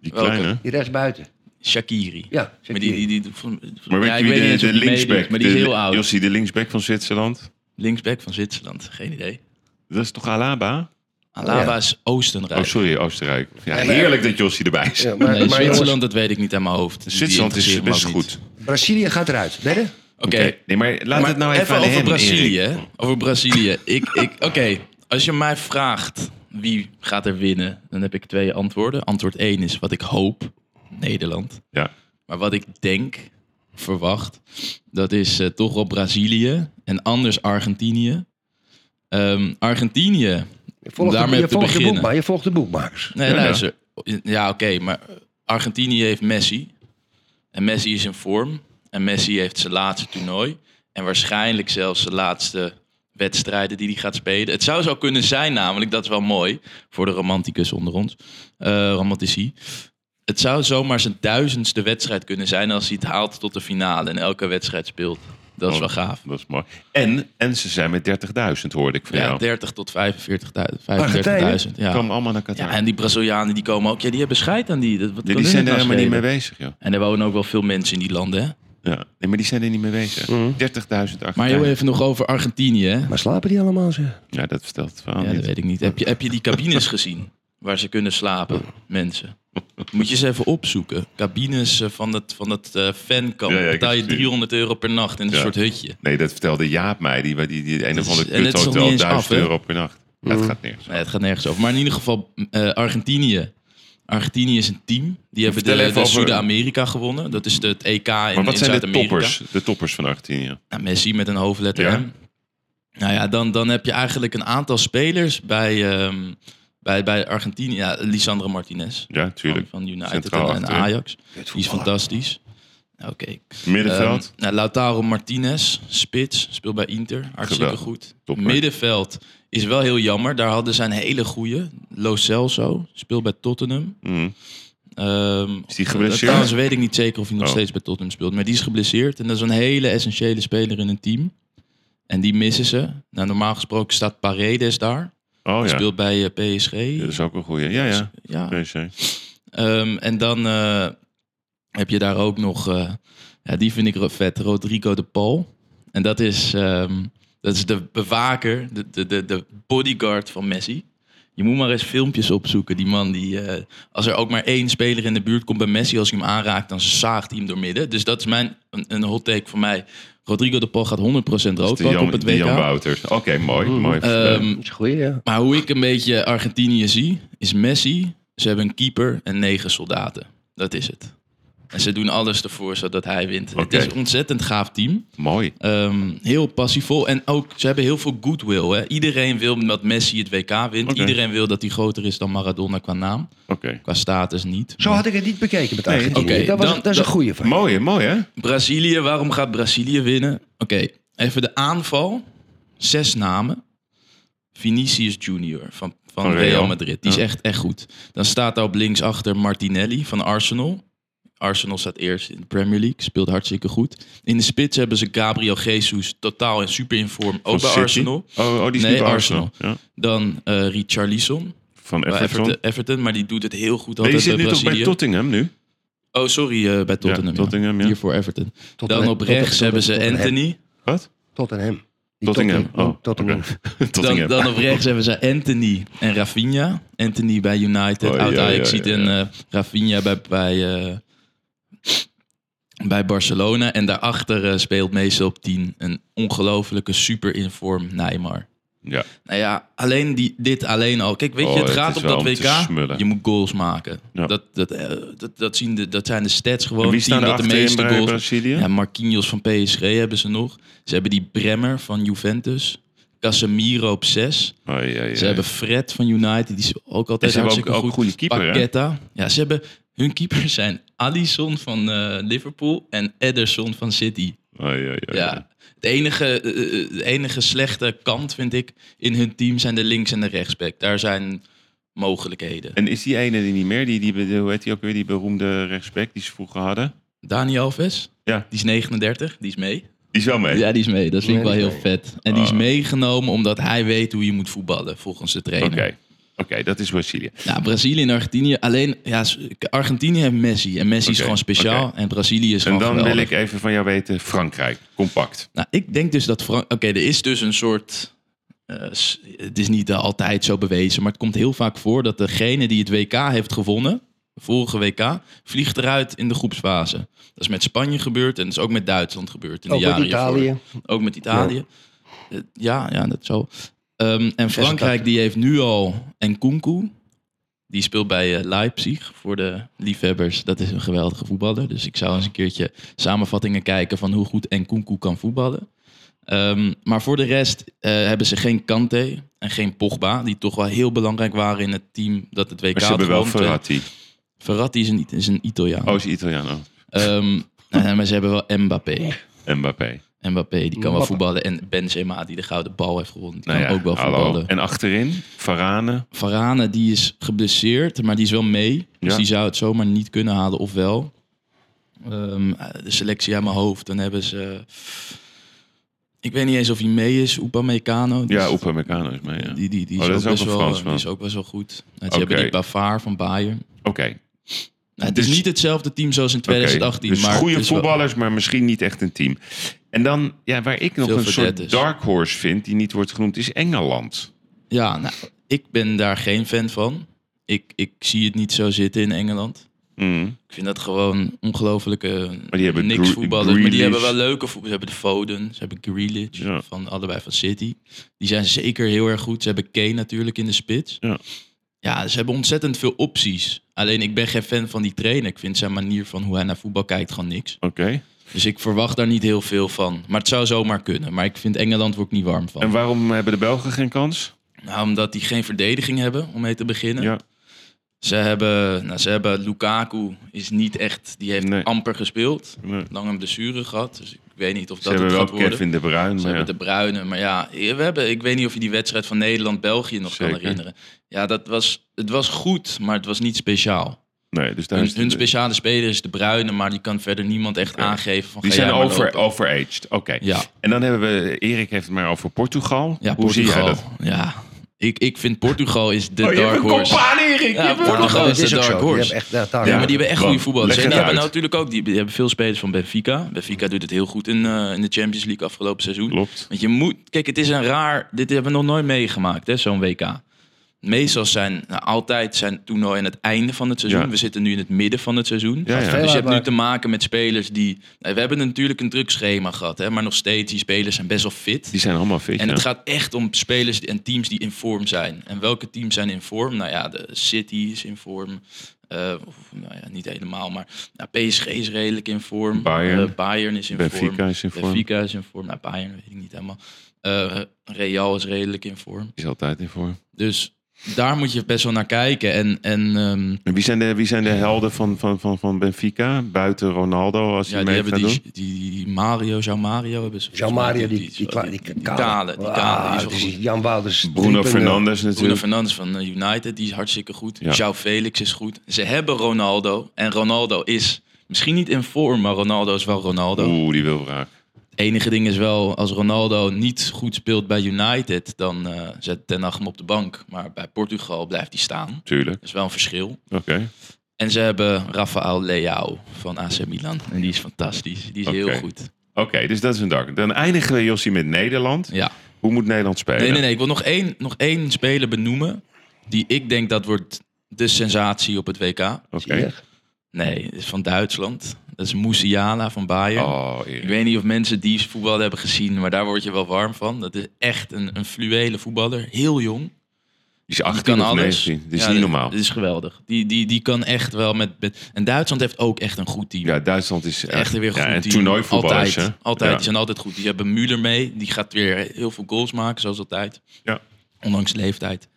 Die Welke? kleine. Die rechtsbuiten. Shakiri. Ja, Maar Shaqiri. die, die, die, van- Maar weet ja, je ik wie weet niet de, eens de of die linksback... meedoet, Maar die is de- heel oud. Jossie, de linksback van Zwitserland. Linksback van Zwitserland. Geen idee. Dat is toch Alaba? Alaba Oh, Ja. is Oostenrijk. Oh, sorry, Oostenrijk. Ja, Ja, maar- heerlijk dat Jossie erbij is. Ja, maar, Nee, maar Zwitserland, jongens, dat weet ik niet aan mijn hoofd. Die [laughs] Zwitserland is interesseert me best ook niet. goed. Brazilië gaat eruit. Wedden? Oké, Oké, nee, maar laat maar het nou even, even aan over hem, Brazilië. Erik. hè? Over Brazilië. ik, ik, [laughs] Oké, als je mij vraagt wie gaat er winnen, dan heb ik twee antwoorden. Antwoord 1 is wat ik hoop, Nederland. Ja. Maar wat ik denk, verwacht, dat is eh, toch wel Brazilië en anders Argentinië. Ehm, Argentinië. Je volgt, Daarmee de, je te volgt de beginnen. boekma- je volgt de boekmakers. Nee, Ja, ja. luister. Ja, oké, maar Argentinië heeft Messi. En Messi is in vorm. En Messi heeft zijn laatste toernooi. En waarschijnlijk zelfs zijn laatste wedstrijden die hij gaat spelen. Het zou zo kunnen zijn namelijk, dat is wel mooi voor de romanticus onder ons, eh romantici. Het zou zomaar zijn duizendste wedstrijd kunnen zijn als hij het haalt tot de finale en elke wedstrijd speelt. Dat is Oh, wel gaaf. Dat is mooi. En, en ze zijn met 30.000, hoorde ik van Ja, jou. 30 tot 45.000. 35.000. Argentijnen? Ja. Komen allemaal naar Qatar. ja, en die Brazilianen die komen ook. Ja, die hebben scheid aan die. Dat, wat die, kan die hun zijn het er nou helemaal niet mee schelen? bezig, joh. En er wonen ook wel veel mensen in die landen, hè? Ja. Nee, maar die zijn er niet mee bezig. 30.000 Argentijnen. Maar heel even nog over Argentinië, hè? Maar slapen die allemaal, zeg? Ja, dat vertelt het verhaal Ja, dat niet. [laughs] weet ik niet. Heb je, heb je die cabines gezien? Waar ze kunnen slapen, mensen. Moet je eens even opzoeken. Cabines eh, van dat, van dat eh, fankamp. Ja, ja, ik betaal heb het je gezien. 300 euro per nacht in een Ja. soort hutje. Nee, dat vertelde Jaap mij. Die, die, die, een Dat of is- andere en het is nog kuthotel, niet eens af, duizend hè? euro per nacht. Ja, het gaat nergens. Nee, het gaat nergens over. Maar in ieder geval eh, Argentinië. Argentinië is een team. Die hebben Vertel de, even de over- Zuid-Amerika gewonnen. Dat is de, het EK in, Maar in wat zijn de Zuid-Amerika. toppers? De toppers van Argentinië. Nou, Messi met een hoofdletter Ja. M. Nou ja, dan, dan heb je eigenlijk een aantal spelers bij, ehm, bij, bij Argentinië. Ja, Lisandro Martinez Ja, tuurlijk. van, van United Centraal en, en achterin. Ajax. Die is fantastisch. Nou, Oké. Middenveld. Ehm, nou, Lautaro Martinez, spits, speelt bij Inter. Hartstikke Geweldig. goed. Topper. Middenveld is wel heel jammer. Daar hadden ze een hele goede. Lo Celso, speelt bij Tottenham. Mhm. Ehm, Is die geblesseerd? Trouwens weet ik niet zeker of hij nog Oh. steeds bij Tottenham speelt. Maar die is geblesseerd. En dat is een hele essentiële speler in een team. En die missen ze. Nou, normaal gesproken staat Paredes daar. Oh Die ja. Speelt bij eh, PSG. Ja, dat is ook een goeie. Ja, ja. ja. PC. Ehm, en dan eh, heb je daar ook nog, eh, ja, die vind ik ro- vet, Rodrigo de Paul. En dat is, ehm, dat is de bewaker, de, de, de, de bodyguard van Messi. Je moet maar eens filmpjes opzoeken. Die man die, eh, als er ook maar één speler in de buurt komt bij Messi, als hij hem aanraakt, dan zaagt hij hem doormidden. Dus dat is mijn, een, een hot take voor mij. Rodrigo de Paul gaat 100% rood De pakken Dus Jan, op het de WK. Jan Wouters. Oké, mooi. mooi. Eh, Ehm, Dat is een goeie, ja. maar hoe ik een beetje Argentinië zie, is Messi. Ze hebben een keeper en negen soldaten. Dat is het. En ze doen alles ervoor zodat hij wint. Het Oké. is een ontzettend gaaf team. mooi. Ehm, heel passievol. En ook, ze hebben heel veel goodwill. Hè? Iedereen wil dat Messi het WK wint. Oké. Iedereen wil dat hij groter is dan Maradona qua naam. Oké. Qua status niet. Zo had ik het niet bekeken met Argentinië. Oké, dat, was, dan- dat is een dan- goeie van je. Mooi, hè? mooi hè? Brazilië, waarom gaat Brazilië winnen? Oké, even de aanval. Zes namen. Vinicius Junior van, van, Van Real. Real. Madrid. Die Ja. is echt, echt goed. Dan staat daar op links achter Martinelli van Arsenal. Arsenal staat eerst in de Premier League. Speelt hartstikke goed. In de spits hebben ze Gabriel Jesus totaal en super in vorm. Van Ook bij City. Arsenal. Oh, oh, die is Nee, niet bij Arsenal. Ja. Dan eh Richarlison Van bij Everton. Everton. Everton. Maar die doet het heel goed Nee, die altijd zit bij nu toch bij Brazilië. Tottingham nu? oh, sorry, eh, bij Tottenham. ja. Tottenham, ja. Hier voor Everton. Tot Dan en- op tot en- rechts tot- hebben tot ze en hem. Anthony. Wat? Tot en hem. Die Tottingham. Tottenham. Oh, Tottenham. oké. [laughs] [laughs] Dan, Tottingham. dan op rechts hebben ze Anthony en Rafinha. Anthony bij United, Oh, oud ja, Ajax ja, ziet ja, en eh, Rafinha bij, bij, eh, bij Barcelona. En daarachter eh, speelt meestal op 10 een ongelofelijke super inform Neymar. Ja. Nou ja, alleen die, dit alleen al. Kijk, weet Oh, je, het het gaat is op wel dat om te WK. smullen. Je moet goals maken. Ja. Dat, dat, eh, dat, dat, zien de, dat zijn de stats gewoon. En wie Het team staan er dat de achterin meeste bij goals Brazilië? ja, Marquinhos van PSG hebben ze nog. Ze hebben die Bremmer van Juventus. Casemiro op 6. Oh, ja, ja, Ze ja. hebben Fred van United, die is ook altijd En ze hebben hartstikke ook- ook goed. goede keeper, hè? Paqueta. Ja, ze hebben... Hun keepers zijn Alisson van eh, Liverpool en Ederson van City. Oh, ja, ja, ja. Ja. Het enige, eh, eh, de enige slechte kant, vind ik, in hun team zijn de links- en de rechtsback. Daar zijn mogelijkheden. En is die ene die niet meer? Die, die, die- hoe heet die ook weer? Die beroemde rechtsback die ze vroeger hadden? Dani Alves, Ja. die is 39, die is mee. Die is wel mee. Ja, die is mee. Dat vind ik wel Nee, heel die is vet. En die is Ah. meegenomen omdat hij weet hoe je moet voetballen volgens de Oké. trainer. Oké, dat is Brazilië. Nou, Brazilië en Argentinië. Alleen, ja, Argentinië heeft Messi. En Messi is Oké, gewoon speciaal. En Brazilië is En gewoon dan wil geweldig. ik even van jou weten, Frankrijk, compact. Nou, ik denk dus dat Frank... Oké, er is dus een soort... eh, s- het is niet eh, altijd zo bewezen, maar het komt heel vaak voor dat degene die het WK heeft gewonnen, de vorige WK, vliegt eruit in de groepsfase. Dat is met Spanje gebeurd en dat is ook met Duitsland gebeurd in Ook de met jaren Oh, hiervoor. Italië. Ook met Italië. Eh, Ja, ja, dat zo. Ehm, en Frankrijk die heeft nu al Nkunku. Die speelt bij eh, Leipzig voor de liefhebbers. Dat is een geweldige voetballer. Dus ik zou eens een keertje samenvattingen kijken van hoe goed Nkunku kan voetballen. Ehm, maar voor de rest eh, hebben ze geen Kante en geen Pogba. Die toch wel heel belangrijk waren in het team dat het eh, WK Maar ze had hebben wel gewonnen. Verratti. Verratti is een, is een Italiaan. Oh, is Italiaan. Oh. Ehm, [laughs] nou, maar ze hebben wel Mbappé. Mbappé. Mbappé, die kan wel Mbappé. voetballen. En Benzema, die de gouden bal heeft gewonnen, die Nou kan ja, ook wel hallo. voetballen. En achterin, Varane. Varane, die is geblesseerd, maar die is wel mee. Dus Ja. die zou het zomaar niet kunnen halen, of wel. Ehm, de selectie aan mijn hoofd, dan hebben ze... Ik weet niet eens of hij mee is, Upamecano. Die Ja, is- Upamecano is mee. Ja. Dus- Die, die, die, Oh, is, dat ook is ook best een wel, Fransman. die is ook best wel goed. Nou, ze Oké. hebben die Bavaar van Bayern. Oké, Nou, het is Dus- niet hetzelfde team zoals in oké. 2018. dus maar het goede is wel- voetballers, maar misschien niet echt een team. En dan, ja, waar ik nog Veel een soort verdettes. dark horse vind, die niet wordt genoemd, is Engeland. Ja, nou, ik ben daar geen fan van. ik, ik zie het niet zo zitten in Engeland. Mm. Ik vind dat gewoon ongelofelijke eh, die hebben niks Gre- voetballers. Maar die Grealish. hebben wel leuke voetballers. Ze hebben de Foden, ze hebben Grealish, Ja. van allebei van City. Die zijn zeker heel erg goed. Ze hebben Kane natuurlijk in de spits. Ja. Ja, ze hebben ontzettend veel opties. Alleen ik ben geen fan van die trainer. Ik vind zijn manier van hoe hij naar voetbal kijkt gewoon niks. Oké. Dus ik verwacht daar niet heel veel van. Maar het zou zomaar kunnen. Maar ik vind Engeland word ik niet warm van. En waarom hebben de Belgen geen kans? Nou, omdat die geen verdediging hebben, om mee te beginnen. Ja. Ze hebben, nou, ze hebben Lukaku is niet echt, die heeft Nee. amper gespeeld. Nee. Lang een blessure gehad, dus ik weet niet of Ze dat het hebben wel gaat worden. Kevin De Bruyne. Ze maar ja. hebben de Bruine, maar ja, eh, we hebben, ik weet niet of je die wedstrijd van Nederland-België nog kan Zeker. herinneren. Ja, dat was, het was goed, maar het was niet speciaal. Nee, dus daar Hun, is de- hun speciale speler is de Bruine, maar die kan verder niemand echt aangeven van Die ga zijn jij maar over, lopen. overaged. Oké. Ja. En dan hebben we, Erik heeft het maar over Portugal. Ja, Hoe zie jij Portugal. dat? Ja, ik, ik vind Portugal is de Oh, je hebt dark een horse. kop aan, Erik. Ja, Portugal Dat is de ook dark zo. Die horse. hebben echt, ja, daar- Ja, maar die hebben echt Want, goede voetballers. leg En het die hebben uit. natuurlijk ook die, die hebben veel spelers van Benfica. Benfica doet het heel goed in, eh, in de Champions League afgelopen seizoen. Klopt. Want je moet, kijk, het is een raar. Dit hebben we nog nooit meegemaakt, hè, zo'n WK. Meestal zijn, nou, altijd zijn toernooien aan het einde van het seizoen. Ja. We zitten nu in het midden van het seizoen. Ja, ja. Dus je hebt nu te maken met spelers die. nou, we hebben natuurlijk een druk schema gehad, hè, maar nog steeds, die spelers zijn best wel fit. Die zijn allemaal fit. En ja. het gaat echt om spelers en teams die in vorm zijn. En welke teams zijn in vorm? Nou ja, de City is in vorm. Eh, of, nou ja, niet helemaal, maar nou, PSG is redelijk in vorm. Bayern. Eh, Bayern is in Benfica vorm. is in vorm. Benfica is in vorm. Nou, Bayern weet ik niet helemaal. Eh, Real is redelijk in vorm. is altijd in vorm. Dus daar moet je best wel naar kijken. En, en ehm, En wie zijn de, wie zijn de helden van, van, van, van Benfica? Buiten Ronaldo, als ja, hij die mee hebben gaat doen? die, die, die Mario, Jean Mario hebben ze. Jean volgens mij. Mario, die, is die, wel- die, die, die kale. kale, die Ah, kale, die is wel het is goed. Jan Wouters. Bruno 3.0. Fernandes natuurlijk. eh, Bruno Fernandes van eh, United, die is hartstikke goed. Ja. João Felix is goed. Ze hebben Ronaldo. En Ronaldo is misschien niet in vorm, maar Ronaldo is wel Ronaldo. Oeh, die wil graag. Het enige ding is wel, als Ronaldo niet goed speelt bij United, dan eh, zet Ten Hag hem op de bank. Maar bij Portugal blijft hij staan. Tuurlijk. Dat is wel een verschil. Oké. En ze hebben Rafael Leao van AC Milan. En die is fantastisch. Die is Oké. heel goed. Oké, dus dat is een dark. Dan eindigen we Jossie met Nederland. Ja. Hoe moet Nederland spelen? Nee, nee, nee. Ik wil nog één, nog één speler benoemen. Die ik denk dat wordt de sensatie op het WK. Oké. Zie je? Nee, het is van Duitsland. Dat is Musiala van Bayern. Hmm. Oh, Ik Erik. weet niet of mensen die voetbal hebben gezien, maar daar word je wel warm van. Dat is echt een, een fluwele voetballer. Heel jong. Die is Die 18 kan of alles. 19. Dit is Ja, niet dat- normaal. Dat is geweldig. Die, die, die kan echt wel met, met... En Duitsland heeft ook echt een goed team. Ja, Duitsland is Echt weer een goed ja, en team. toernooivoetballers, Altijd. hè? altijd. Ja. Die zijn altijd goed. Die hebben Müller mee. Die gaat weer heel veel goals maken, zoals altijd. Ja. Ondanks leeftijd.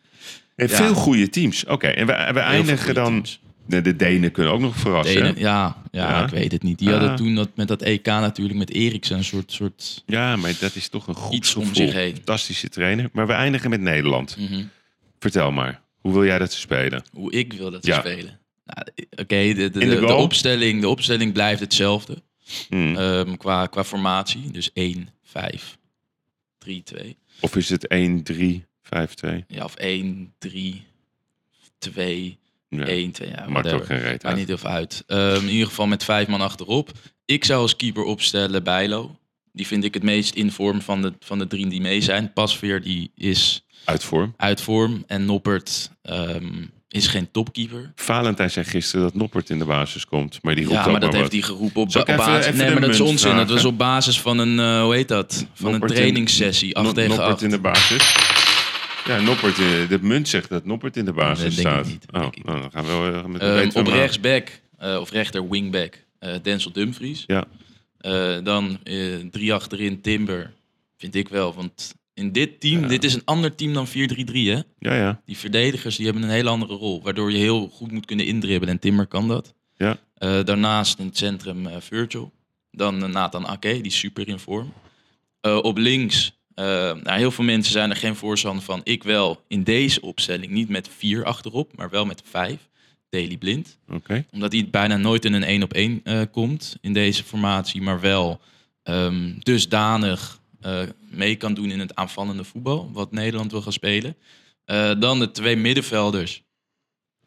En Ja. Veel goede teams. Oké, en we, we Heel veel eindigen goede dan... teams. Nee, de Denen kunnen ook nog verrassen. Denen? hè? ja, ja, Ja. ik weet het niet. Die Ah. hadden toen dat, met dat EK natuurlijk met Eriksen een soort... soort Ja, maar dat is toch een goed Iets om gevoel. zich heen. Fantastische trainer. Maar we eindigen met Nederland. Mhm. Vertel maar, hoe wil jij dat ze spelen? hoe ik wil dat ze Ja. spelen. Nou, Oké, de, de, In de de, de goal? opstelling, de opstelling blijft hetzelfde Hmm. ehm, qua, qua formatie. Dus 1, 5, 3, 2. Of is het 1, 3, 5, 2? Ja, of 1, 3, 2, Ja, 1, 2. Ja, maakt whatever. ook geen reet Maakt uit. niet heel veel uit. Ehm, in ieder geval met vijf man achterop. Ik zou als keeper opstellen Bijlo. Die vind ik het meest in vorm van de, van de drie die mee zijn. Pasveer die is Uit vorm. uit vorm. En Noppert ehm, is geen topkeeper. Valentijn zei gisteren dat Noppert in de basis komt. Maar die roept Ja, ook maar dat maar heeft wat. hij geroepen op Zal ba- ik even- basis. even nee, de maar dat is munt onzin. Dat vragen? was op basis van een, eh, hoe heet dat? Van Noppert een in- trainingssessie, 8 No- tegen Noppert 8. in de basis. Ja, Noppert. in- De munt zegt dat Noppert in de basis Nee, denk staat. ik niet, oh, denk ik nou, dan gaan we wel eh, met Ehm, weten we op maar. rechtsback, eh, of rechter wingback, eh Denzel Dumfries. Ja. Eh, dan eh, drie achterin Timber, vind ik wel. Want in dit team, Ja. dit is een ander team dan 4-3-3 hè. Ja, ja. Die verdedigers die hebben een hele andere rol. Waardoor je heel goed moet kunnen indribbelen. En Timmer kan dat. Ja. Eh, daarnaast in het centrum eh, Virgil. Dan eh, Nathan Ake, die is super in vorm. Eh, op links, eh, nou, heel veel mensen zijn er geen voorstander van. Ik wel in deze opstelling. Niet met vier achterop, maar wel met vijf. Daily Blind. Oké. Omdat hij bijna nooit in een één op één eh, komt in deze formatie. Maar wel ehm, dusdanig eh, mee kan doen in het aanvallende voetbal. Wat Nederland wil gaan spelen. Eh, dan de twee middenvelders.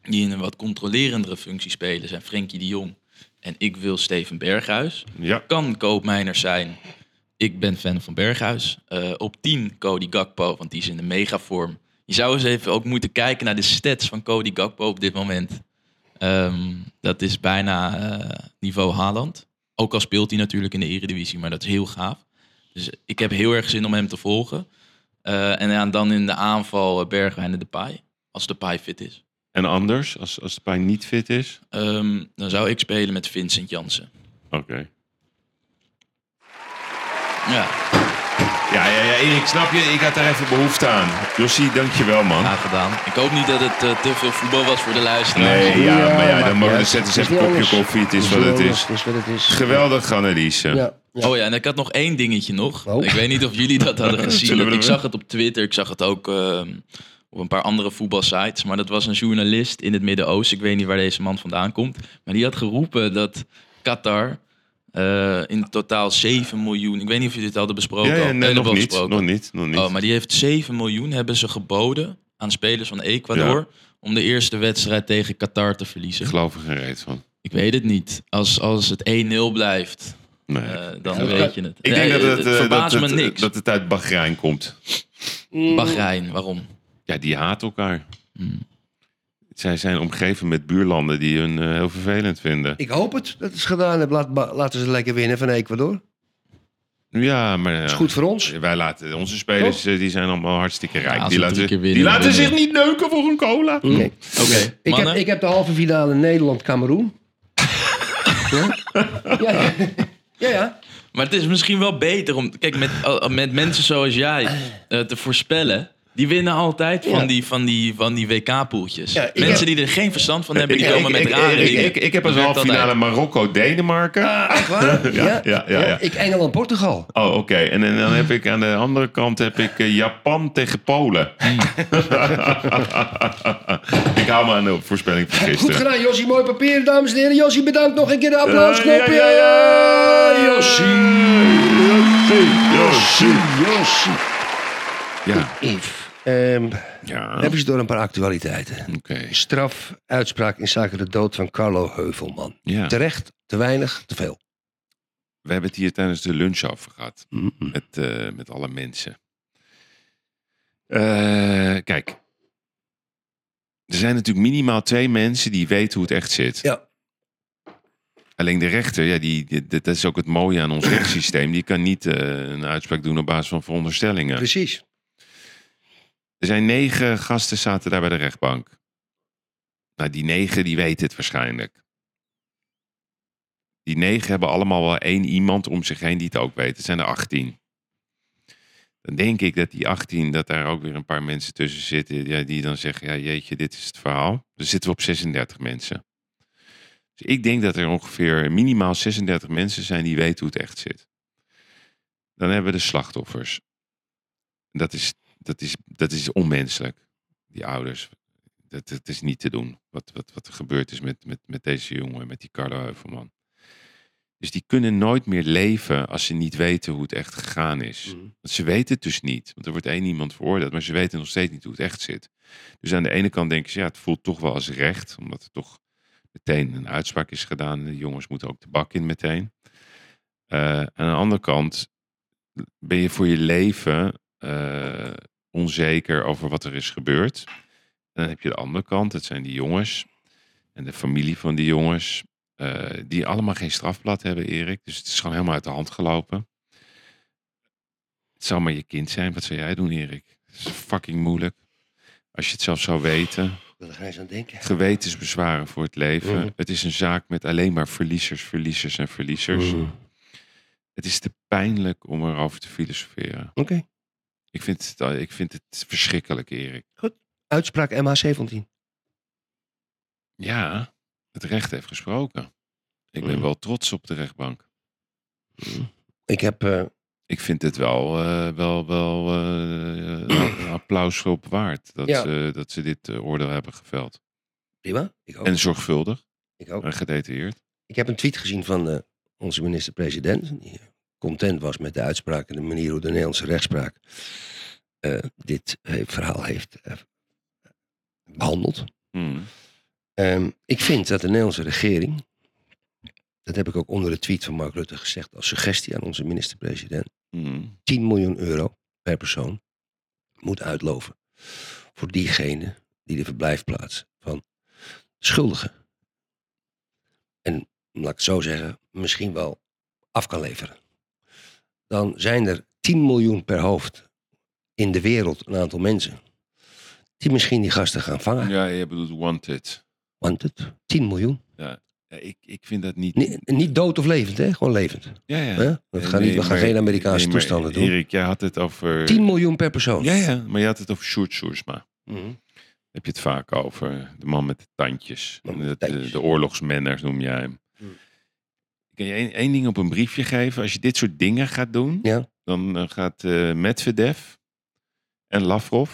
Die in een wat controlerendere functie spelen. Zijn Frenkie de Jong. En ik wil Steven Berghuis. Ja. Kan koopmijner zijn. Ik ben fan van Berghuis. Eh, op 10 Cody Gakpo. Want die is in de megavorm. Je zou eens even ook moeten kijken naar de stats van Cody Gakpo op dit moment. Ehm, dat is bijna eh, niveau Haaland. Ook al speelt hij natuurlijk in de Eredivisie, maar dat is heel gaaf. Dus ik heb heel erg zin om hem te volgen. Eh, en ja, dan in de aanval eh, Bergwijn en Depay. Als Depay fit is. En anders, als, als de pijn niet fit is. Ehm, dan zou ik spelen met Vincent Jansen. Oké. Ja, Ja, ja, ja, Erik, snap je? Ik had daar even behoefte aan. Jossie, dankjewel, man. graag gedaan. Ik hoop niet dat het eh, te veel voetbal was voor de luisteraar. Nee, ja, maar ja, dan maakt mogen niet we uit. zetten ze Het even is een niet anders. kopje koffie. Het is niet wat het anders, is. Het is wat het is. Geweldig, Anneliese. Ja. ja. Oh ja, en ik had nog één dingetje nog. Oh. Ik weet niet of jullie [laughs] dat hadden gezien. Zullen we want Ik hem- zag het op Twitter, ik zag het ook ehm, op een paar andere voetbalsites. Maar dat was een journalist in het Midden-Oosten. Ik weet niet waar deze man vandaan komt. Maar die had geroepen dat Qatar eh, in totaal 7 miljoen... Ik weet niet of jullie dit hadden besproken. Ja, ja, al. nee, Eh, hebben nog, we al niet, besproken. nog niet. Nog niet. Oh, maar die heeft 7 miljoen hebben ze geboden aan spelers van Ecuador om de eerste wedstrijd tegen Qatar te Ik verliezen. geloof er geen reet van. Ik weet het niet. Als, als het 1-0 blijft, Nee. eh, dan dat- weet je het. ik denk Nee, dat het, eh, dat, verbaast het, me niks. dat het uit Bahrein komt. Bahrein, waarom? Ja, die haat elkaar. Hmm. Zij zijn omgeven met buurlanden die hun eh, heel vervelend vinden. Ik hoop het dat het is gedaan hebben. Laat, ba- laten ze lekker winnen van Ecuador. Ja, maar ja. is goed voor ons. Wij laten onze spelers, eh, die zijn allemaal hartstikke rijk. Ja, als die ze laten, drie keer winnen, die laten dan zich winnen. niet neuken voor een cola. Oké. Oké, Ik, heb, mannen. ik heb de halve finale Nederland-Cameroen. ja. Ja. ja, ja. Maar het is misschien wel beter om, kijk, met, eh, met mensen zoals jij eh, te voorspellen. Die winnen altijd van Ja. die, van die, van die WK-poeltjes. Ja, ik mensen heb- die er geen verstand van hebben, die Ik- komen ik- met ik- rare ik, dingen. ik, ik heb als Dat werkt halve finale altijd. Marokko-Denemarken. Echt waar? Ja, ja, ja, ja. Ik Engeland-Portugal. Oh, oké. En, en dan heb ik aan de andere kant heb ik eh, Japan tegen Polen. [laughs] ik hou me aan de voorspelling van Goed gisteren. gedaan, Jossie. Mooi papier, dames en heren. Jossie, bedankt. Nog een keer de applausknopje. Eh, ja, ja, ja. Jossie. Jossie. Jossie. Ja, Yves. Ehm, ja. Even door een paar actualiteiten. Oké. Straf, uitspraak in zaken de dood van Carlo Heuvelman. Ja. Terecht, te weinig, te veel. We hebben het hier tijdens de lunch over gehad. Mm-mm. Met, eh, met alle mensen. Eh, kijk. Er zijn natuurlijk minimaal twee mensen die weten hoe het echt zit. Ja. Alleen de rechter, ja, die, die- dat is ook het mooie aan [clears throat] ons rechtssysteem. Die kan niet eh, een uitspraak doen op basis van veronderstellingen. Precies. Er zijn negen gasten zaten daar bij de rechtbank. Nou, die negen die weten het waarschijnlijk. Die negen hebben allemaal wel één iemand om zich heen die het ook weet. Het zijn er 18. Dan denk ik dat die 18, dat daar ook weer een paar mensen tussen zitten. Ja, die dan zeggen, ja jeetje, dit is het verhaal. Dan zitten we op 36 mensen. Dus ik denk dat er ongeveer minimaal 36 mensen zijn die weten hoe het echt zit. Dan hebben we de slachtoffers. Dat is dat is, dat is onmenselijk. Die ouders. Dat, dat is niet te doen. Wat, wat, wat er gebeurd is met, met, met deze jongen, met die Carlo Heuvelman. Dus die kunnen nooit meer leven als ze niet weten hoe het echt gegaan is. Mhm. Want ze weten het dus niet. Want er wordt één iemand veroordeeld, maar ze weten nog steeds niet hoe het echt zit. Dus aan de ene kant denken ze, ja, het voelt toch wel als recht. Omdat er toch meteen een uitspraak is gedaan. De jongens moeten ook de bak in meteen. Eh, aan de andere kant ben je voor je leven eh, onzeker over wat er is gebeurd. En dan heb je de andere kant, dat zijn die jongens en de familie van die jongens, eh, die allemaal geen strafblad hebben, Erik. Dus het is gewoon helemaal uit de hand gelopen. Het zou maar je kind zijn, wat zou jij doen, Erik? Het is fucking moeilijk. Als je het zelf zou weten. Ik wil er geen eens aan denken. Gewetensbezwaren voor het leven. Mhm. Het is een zaak met alleen maar verliezers, verliezers en verliezers. Mhm. Het is te pijnlijk om erover te filosoferen. Oké. Ik vind het, ik vind het verschrikkelijk, Erik. Uitspraak MH17. Ja, het recht heeft gesproken. Ik ben Mm. wel trots op de rechtbank. Ik heb... eh, Ik vind het wel, eh, wel, wel [clears throat] eh, een applaus op waard dat, Ja. ze, dat ze dit eh, oordeel hebben geveld. prima. Ik ook. En zorgvuldig ik ook. en gedetailleerd. Ik heb een tweet gezien van eh, onze minister-president. Die eh, content was met de uitspraak en de manier hoe de Nederlandse rechtspraak eh, dit eh, verhaal heeft eh, behandeld. Mm. Ehm, ik vind dat de Nederlandse regering, dat heb ik ook onder de tweet van Mark Rutte gezegd als suggestie aan onze minister-president, Mm. 10 miljoen euro per persoon moet uitloven voor diegene die de verblijfplaats van schuldigen. En laat ik het zo zeggen, misschien wel af kan leveren. Dan zijn er 10 miljoen per hoofd in de wereld een aantal mensen. Die misschien die gasten gaan vangen. Ja, je bedoelt wanted. Want het, 10 miljoen. Ja, ik, ik vind dat niet... Niet, niet dood of levend, hè? Gewoon levend. ja, ja. Hè? We gaan, niet, we gaan geen Amerikaanse maar toestanden doen. Erik, jij had het over... 10 miljoen per persoon. Ja, ja, maar je had het over Sjoerd Sjoerdsma. Mhm. heb je het vaak over. De man met de tandjes. Man met De, de de, tandjes. de oorlogsmenners noem jij hem. Hmm. Ik kan je één, één ding op een briefje geven. Als je dit soort dingen gaat doen, Ja. dan eh, gaat eh, Medvedev en Lavrov,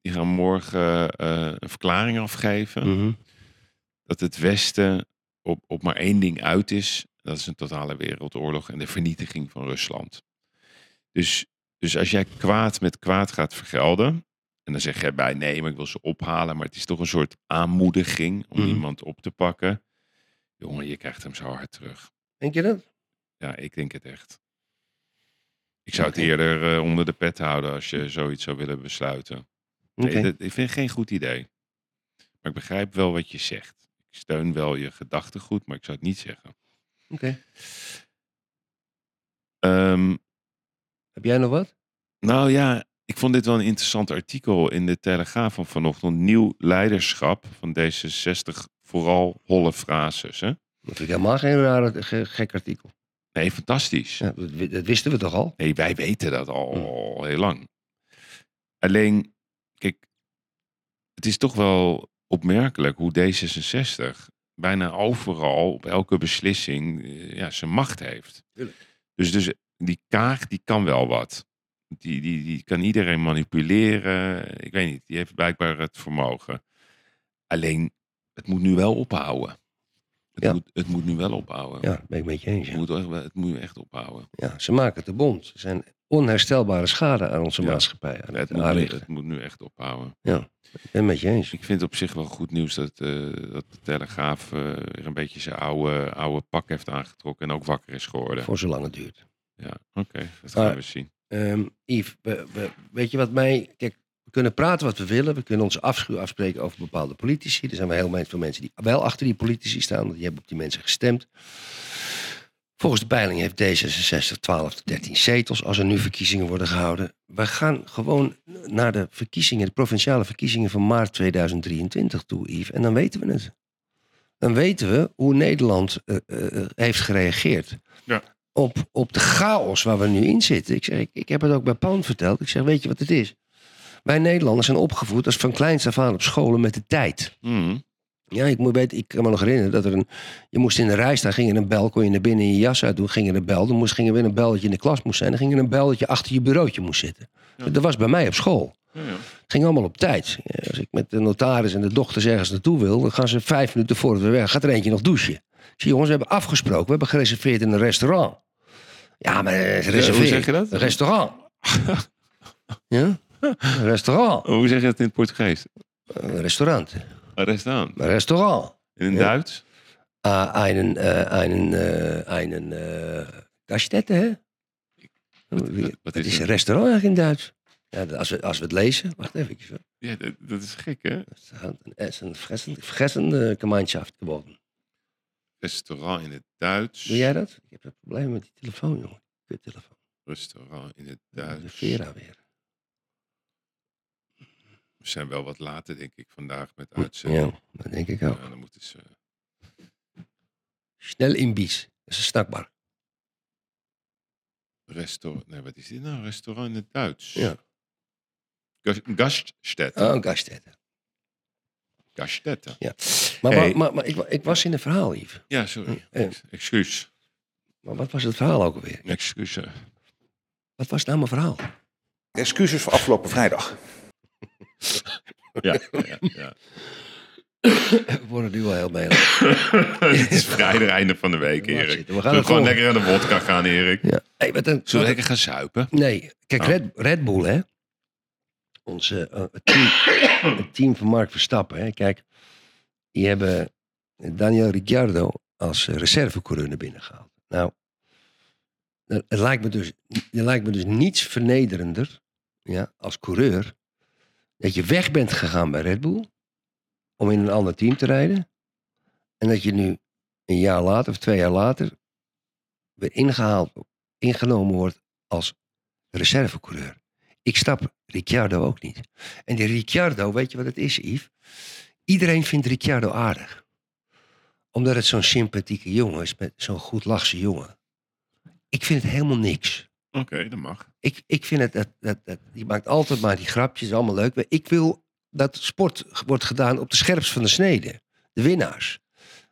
die gaan morgen eh, een verklaring afgeven Mhm. dat het Westen op, op maar één ding uit is. Dat is een totale wereldoorlog en de vernietiging van Rusland. Dus, dus als jij kwaad met kwaad gaat vergelden. En dan zeg jij bij nee, maar ik wil ze ophalen. Maar het is toch een soort aanmoediging om Mhm. iemand op te pakken. Jongen, je krijgt hem zo hard terug. Denk je dat? Ja, ik denk het echt. Ik zou het eerder eh, onder de pet houden als je zoiets zou willen besluiten. Nee, Oké. dat- ik vind het geen goed idee. Maar ik begrijp wel wat je zegt. Ik steun wel je gedachtegoed, maar ik zou het niet zeggen. Oké. Ehm, Heb jij nog wat? nou ja, ik vond dit wel een interessant artikel in de Telegraaf van vanochtend. Nieuw leiderschap van D66, vooral holle frases. Hè? Dat vind ik helemaal geen rare, ge- gek artikel. Nee, fantastisch. Ja, dat, wi- dat wisten we toch al? Nee, wij weten dat Hm. al heel lang. Alleen, kijk, het is toch wel opmerkelijk hoe D66 bijna overal op elke beslissing eh, ja, zijn macht heeft. Dus, dus die Kaag, die kan wel wat. Die, die, die kan iedereen manipuleren. Ik weet niet, die heeft blijkbaar het vermogen. Alleen, het moet nu wel ophouden. Het, Ja. moet, het moet nu wel ophouden. Ja, ben ik met je eens. Het, Ja. moet echt, wel- het moet echt ophouden. Ja, ze maken het te bond. Ze zijn onherstelbare schade aan onze Ja. maatschappij aan Ja, het het, moet nu, aanrichten. het moet nu echt ophouden. Ik ben met je eens. Ik vind het op zich wel goed nieuws dat, eh, dat de Telegraaf eh, weer een beetje zijn oude, oude pak heeft aangetrokken en ook wakker is geworden. Voor zolang het duurt. Ja, oké. Dat gaan Maar- we zien. Ehm, Yves, we- we- weet je wat mij... Kijk, we kunnen praten wat we willen. We kunnen onze afschuw afspreken over bepaalde politici. Er zijn wel heel veel mensen die wel achter die politici staan. Want die hebben op die mensen gestemd. Volgens de peiling heeft D66 12 tot 13 zetels als er nu verkiezingen worden gehouden. We gaan gewoon naar de verkiezingen, de provinciale verkiezingen van maart 2023 toe, Yves. En dan weten we het. Dan weten we hoe Nederland eh, eh, heeft gereageerd Ja. op, op de chaos waar we nu in zitten. Ik, zeg, ik, ik heb het ook bij Pound verteld. Ik zeg, weet je wat het is? Wij Nederlanders zijn opgevoed als van kleins af aan op scholen met de tijd. Mhm. Ja, ik, moet weten, ik kan me nog herinneren dat er een... Je moest in de rij staan, ging er een bel, kon je naar binnen in je jas uit doen, ging er een bel. Dan moest, ging er weer een bel dat je in de klas moest zijn. Dan ging er een bel dat je achter je bureautje moest zitten. Dat was bij mij op school. Ja, ja. Het ging allemaal op tijd. Ja, Als ik met de notaris en de dochters ergens naartoe wil, dan gaan ze vijf minuten voor het weg. Gaat er eentje nog douchen? Ik zeg, jongens, we hebben afgesproken. We hebben gereserveerd in een restaurant. Ja, maar eh, reserveer. hoe zeg je dat? Een [laughs] restaurant. ja? Een restaurant. Hoe zeg je dat in het Portugees? Een restaurant. Restaan. Een restaurant. In het Ja. Duits? Ah, einen, äh, einen, äh, einen äh, Gaststätte, hè? Wat, wat- wat is is het? een restaurant eigenlijk in Duits? Ja, dat- als, we, als we het lezen, wacht even. Het Ja, dat, dat is gek, hè? is een vergessende, vergessende gemeenschap geworden. Restaurant in het Duits. Doe jij dat? Ik heb een probleem met die telefoon, jongen. Kut telefoon. Restaurant in het De Duits. Vera weer. We zijn wel wat later, denk ik, vandaag met Ja, eh, uitzenden. dat denk ik ook. dan moeten ze... Snel in Bies. Dat is een snackbar. Restaurant... Nee, wat is dit nou? Restaurant in het Duits. Ja. Gas- Gaststätte. Oh, een gaststätte. Gaststätte. Ja. Maar, Hey. wa- maar, maar ik, wa- ik was in een verhaal, Yves. Ja, sorry. Eh. Ex- Excuus. Maar wat was het verhaal ook alweer? Excuus. eh. Wat was nou mijn verhaal? Excuses voor afgelopen vrijdag. Ja, [laughs] ja, ja. [laughs] We worden nu al heel melig. [laughs] Het is vrijdag einde van de week, Laat Erik. zitten. We gaan Zullen we het gewoon volgen. lekker aan de wodka gaan, Erik? Ja. Hey, wat een, Zullen we lekker gaan zuipen? Nee, kijk, Oh. Red, Red Bull, hè. Onze, eh, het, team, het team van Mark Verstappen, hè. Kijk, die hebben Daniel Ricciardo als eh, reservecoureur naar binnen gehaald. Nou, het het lijkt me dus, het lijkt me dus niets vernederender ja, als coureur Dat je weg bent gegaan bij Red Bull. Om in een ander team te rijden. En dat je nu een jaar later of twee jaar later weer ingehaald, ingenomen wordt als reservecoureur. Ik snap Ricciardo ook niet. En die Ricciardo, weet je wat het is, Yves? Iedereen vindt Ricciardo aardig. Omdat het zo'n sympathieke jongen is, met zo'n goed lachse jongen. Ik vind het helemaal niks. Oké, dat mag. Ik, ik vind het, dat, dat, dat, die maakt altijd maar die grapjes, allemaal leuk. Maar ik wil dat sport wordt gedaan op de scherpst van de snede. De winnaars.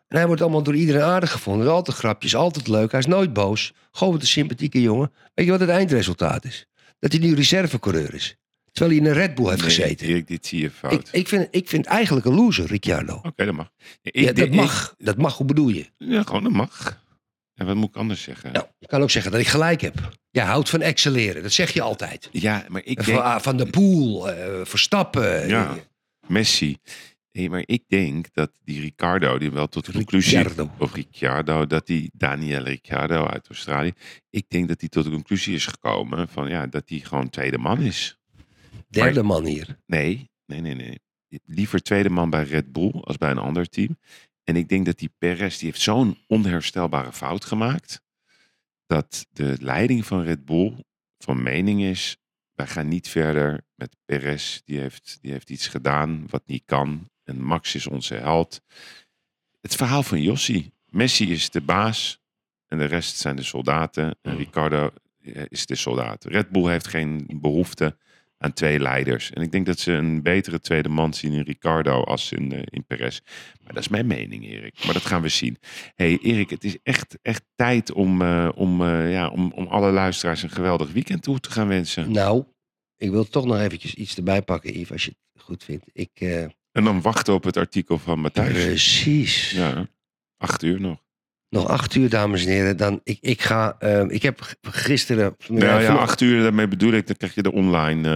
En hij wordt allemaal door iedereen aardig gevonden. Er zijn altijd grapjes, altijd leuk. Hij is nooit boos. Gewoon een sympathieke jongen. Weet je wat het eindresultaat is? Dat hij nu reservecoureur is. Terwijl hij in een Red Bull heeft Nee, gezeten. Erik, dit zie je fout. Ik, ik, vind, ik vind eigenlijk een loser, Ricciardo. Oké, dat mag. Ik, Ja, dat ik- mag. Dat mag, hoe bedoel je? ja, gewoon dat mag. En wat moet ik anders zeggen? Nou, je kan ook zeggen dat ik gelijk heb. Jij houdt van excelleren, dat zeg je altijd. Ja, maar ik Van, denk... ah, van de pool, eh, verstappen. eh, Ja, Messi. Hé, maar ik denk dat die Ricardo, die wel tot de conclusie... Ricciardo. Of Ricciardo, dat die Daniel Ricciardo uit Australië... Ik denk dat hij tot de conclusie is gekomen van ja, dat hij gewoon tweede man is. Derde man hier. Nee, nee, nee, nee. Liever tweede man bij Red Bull als bij een ander team. En ik denk dat die Perez, die heeft zo'n onherstelbare fout gemaakt... dat de leiding van Red Bull van mening is... wij gaan niet verder met Perez. Die heeft, die heeft iets gedaan wat niet kan. En Max is onze held. Het verhaal van Jossi. Messi is de baas en de rest zijn de soldaten. En Ricardo eh, is de soldaat. Red Bull heeft geen behoefte aan twee leiders. En ik denk dat ze een betere tweede man zien in Ricardo als in, eh, in Perez. Maar dat is mijn mening, Erik. Maar dat gaan we zien. hey, Erik, het is echt, echt tijd om, eh, om, eh, ja, om, om alle luisteraars een geweldig weekend toe te gaan wensen. Nou, ik wil toch nog eventjes iets erbij pakken, Yves, als je het goed vindt. Ik, eh, En dan wachten op het artikel van Matthijs. precies. Ja, acht uur nog. Nog acht uur, dames en heren. Dan, ik, ik, ga, eh, ik heb g- gisteren... Nou ja, vanochtend- acht uur, daarmee bedoel ik, dan krijg je de online...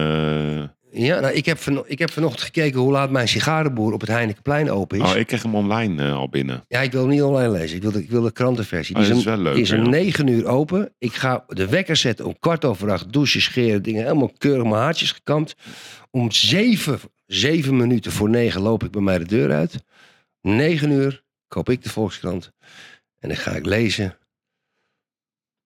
eh, Ja, nou, ik, heb vano- ik heb vanochtend gekeken hoe laat mijn sigarenboer op het Heinekenplein open is. Oh, ik krijg hem online eh, al binnen. Ja, ik wil hem niet online lezen. Ik wil de, ik wil de krantenversie. Oh, Die dat is is om- wel leuk. die is om hè? negen uur open. Ik ga de wekker zetten om kwart over acht. Douchen, scheren, dingen. Helemaal keurig mijn haartjes gekamd. Om zeven, zeven minuten voor negen loop ik bij mij de deur uit. Om negen uur koop ik de Volkskrant. En dan ga ik lezen.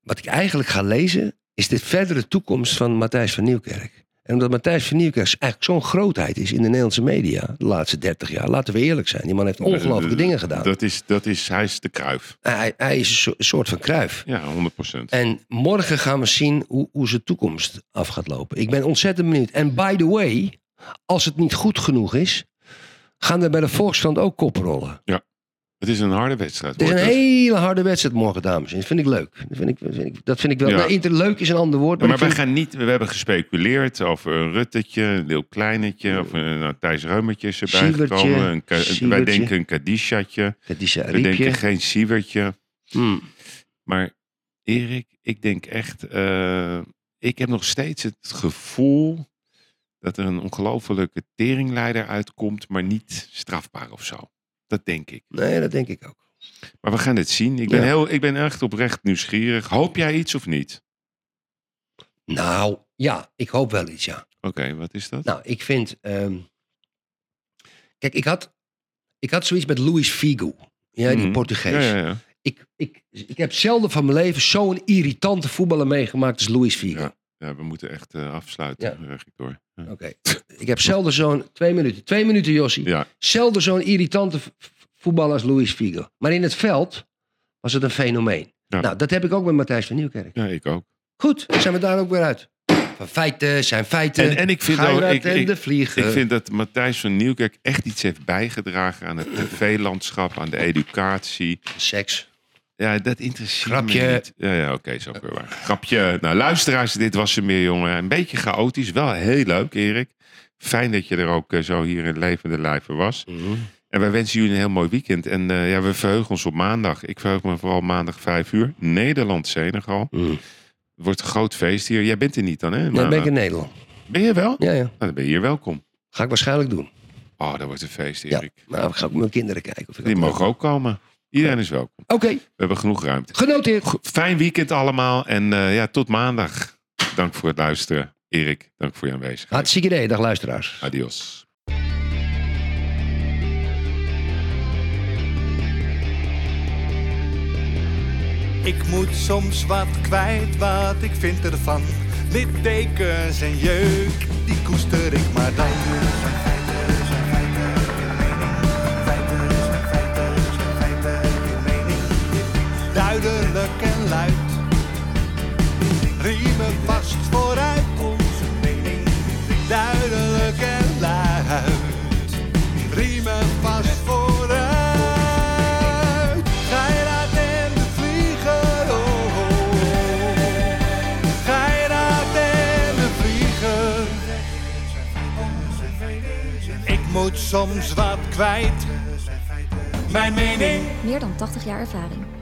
Wat ik eigenlijk ga lezen is de verdere toekomst van Matthijs van Nieuwkerk. En omdat Matthijs van Nieuwkerk eigenlijk zo'n grootheid is in de Nederlandse media de laatste 30 jaar, laten we eerlijk zijn, die man heeft ongelooflijke dingen gedaan. Oh, Dat is, dat is, hij is de kruif. Hij, hij is een so- soort van kruif. Ja, 100 procent. En morgen gaan we zien hoe, hoe zijn toekomst af gaat lopen. Ik ben ontzettend benieuwd. En by the way, als het niet goed genoeg is, gaan er bij de Volkskrant ook koprollen. Het is een harde wedstrijd. Het is een wordt het. hele harde wedstrijd morgen, dames en heren. Dat vind ik leuk. Dat vind ik, dat vind ik, dat vind ik wel. Ja. Nou, inter- leuk is een ander woord. Maar, Maar, wij ik vind- gaan niet, we hebben gespeculeerd over een Ruttetje, een heel kleinetje, of een nou, Thijs Reumertje is erbij Siewertje, gekomen. Een ka- wij Siewertje. denken een Kadishatje, Dat is een we denken riepje. geen Siewertje. Hmm. Maar Erik, ik denk echt, eh, ik heb nog steeds het gevoel dat er een ongelofelijke teringleider uitkomt, maar niet strafbaar of zo. Dat denk ik. Nee, dat denk ik ook. Maar we gaan het zien. Ik ben, Ja. heel, ik ben echt oprecht nieuwsgierig. Hoop jij iets of niet? Nou, ja, ik hoop wel iets, ja. Oké, wat is dat? Nou, ik vind. ehm, kijk, ik had, ik had zoiets met Luis Figo. Ja, die Mhm. Portugees. ja, ja, ja. Ik, ik, ik heb zelden van mijn leven zo'n irritante voetballer meegemaakt als Luis Figo. Ja. Ja, we moeten echt eh, afsluiten, ja. ik door. Ja. Oké. Ik heb zelden zo'n. Twee minuten. Twee minuten, Jossie. Ja. Zelden zo'n irritante v- v- voetballer als Luis Figo. Maar in het veld was het een fenomeen. Ja. Nou, dat heb ik ook met Matthijs van Nieuwkerk. Ja, ik ook. Goed, zijn we daar ook weer uit. Van feiten zijn feiten. En, en ik vind ook, Gerard ik, en ik, de vliegen. ik vind dat Matthijs van Nieuwkerk echt iets heeft bijgedragen aan het tv-landschap, aan de educatie. Seks. Ja, dat interesseert Grapje. me niet. Ja, ja oké, zo weer waar. Grapje. Nou, luisteraars, dit was hem weer, jongen. Een beetje chaotisch, wel heel leuk, Erik. Fijn dat je er ook eh, zo hier in levende lijven was. Mm. En wij wensen jullie een heel mooi weekend. En eh, ja, we verheugen ons op maandag. Ik verheug me vooral maandag 5 uur. Nederland-Senegal. Mm. Wordt een groot feest hier. Jij bent er niet dan, hè? Nee, ben ik Maandag. in Nederland. Ben je wel? Ja, ja. Nou, dan ben je hier welkom. Ga ik waarschijnlijk doen. Oh, dat wordt een feest, Ja. Erik. Maar ik ga ook mijn kinderen kijken. Of ik Die dat- mogen ook komen. Iedereen is welkom. Oké, We hebben genoeg ruimte. genoteerd. Fijn weekend allemaal en eh, ja, tot maandag. Dank voor het luisteren. Erik, dank voor je aanwezigheid. Hartstikke idee, dag luisteraars. Adios. Ik moet soms wat kwijt, wat ik vind ervan. Littekens en jeuk, die koester ik maar dan. Duidelijk en luid, riemen vast vooruit. Onze mening. Duidelijk en luid, riemen vast vooruit. Geirat en de vlieger, oh, oh. Geirat en de vlieger. Ik moet soms wat kwijt, mijn mening. Meer dan 80 jaar ervaring.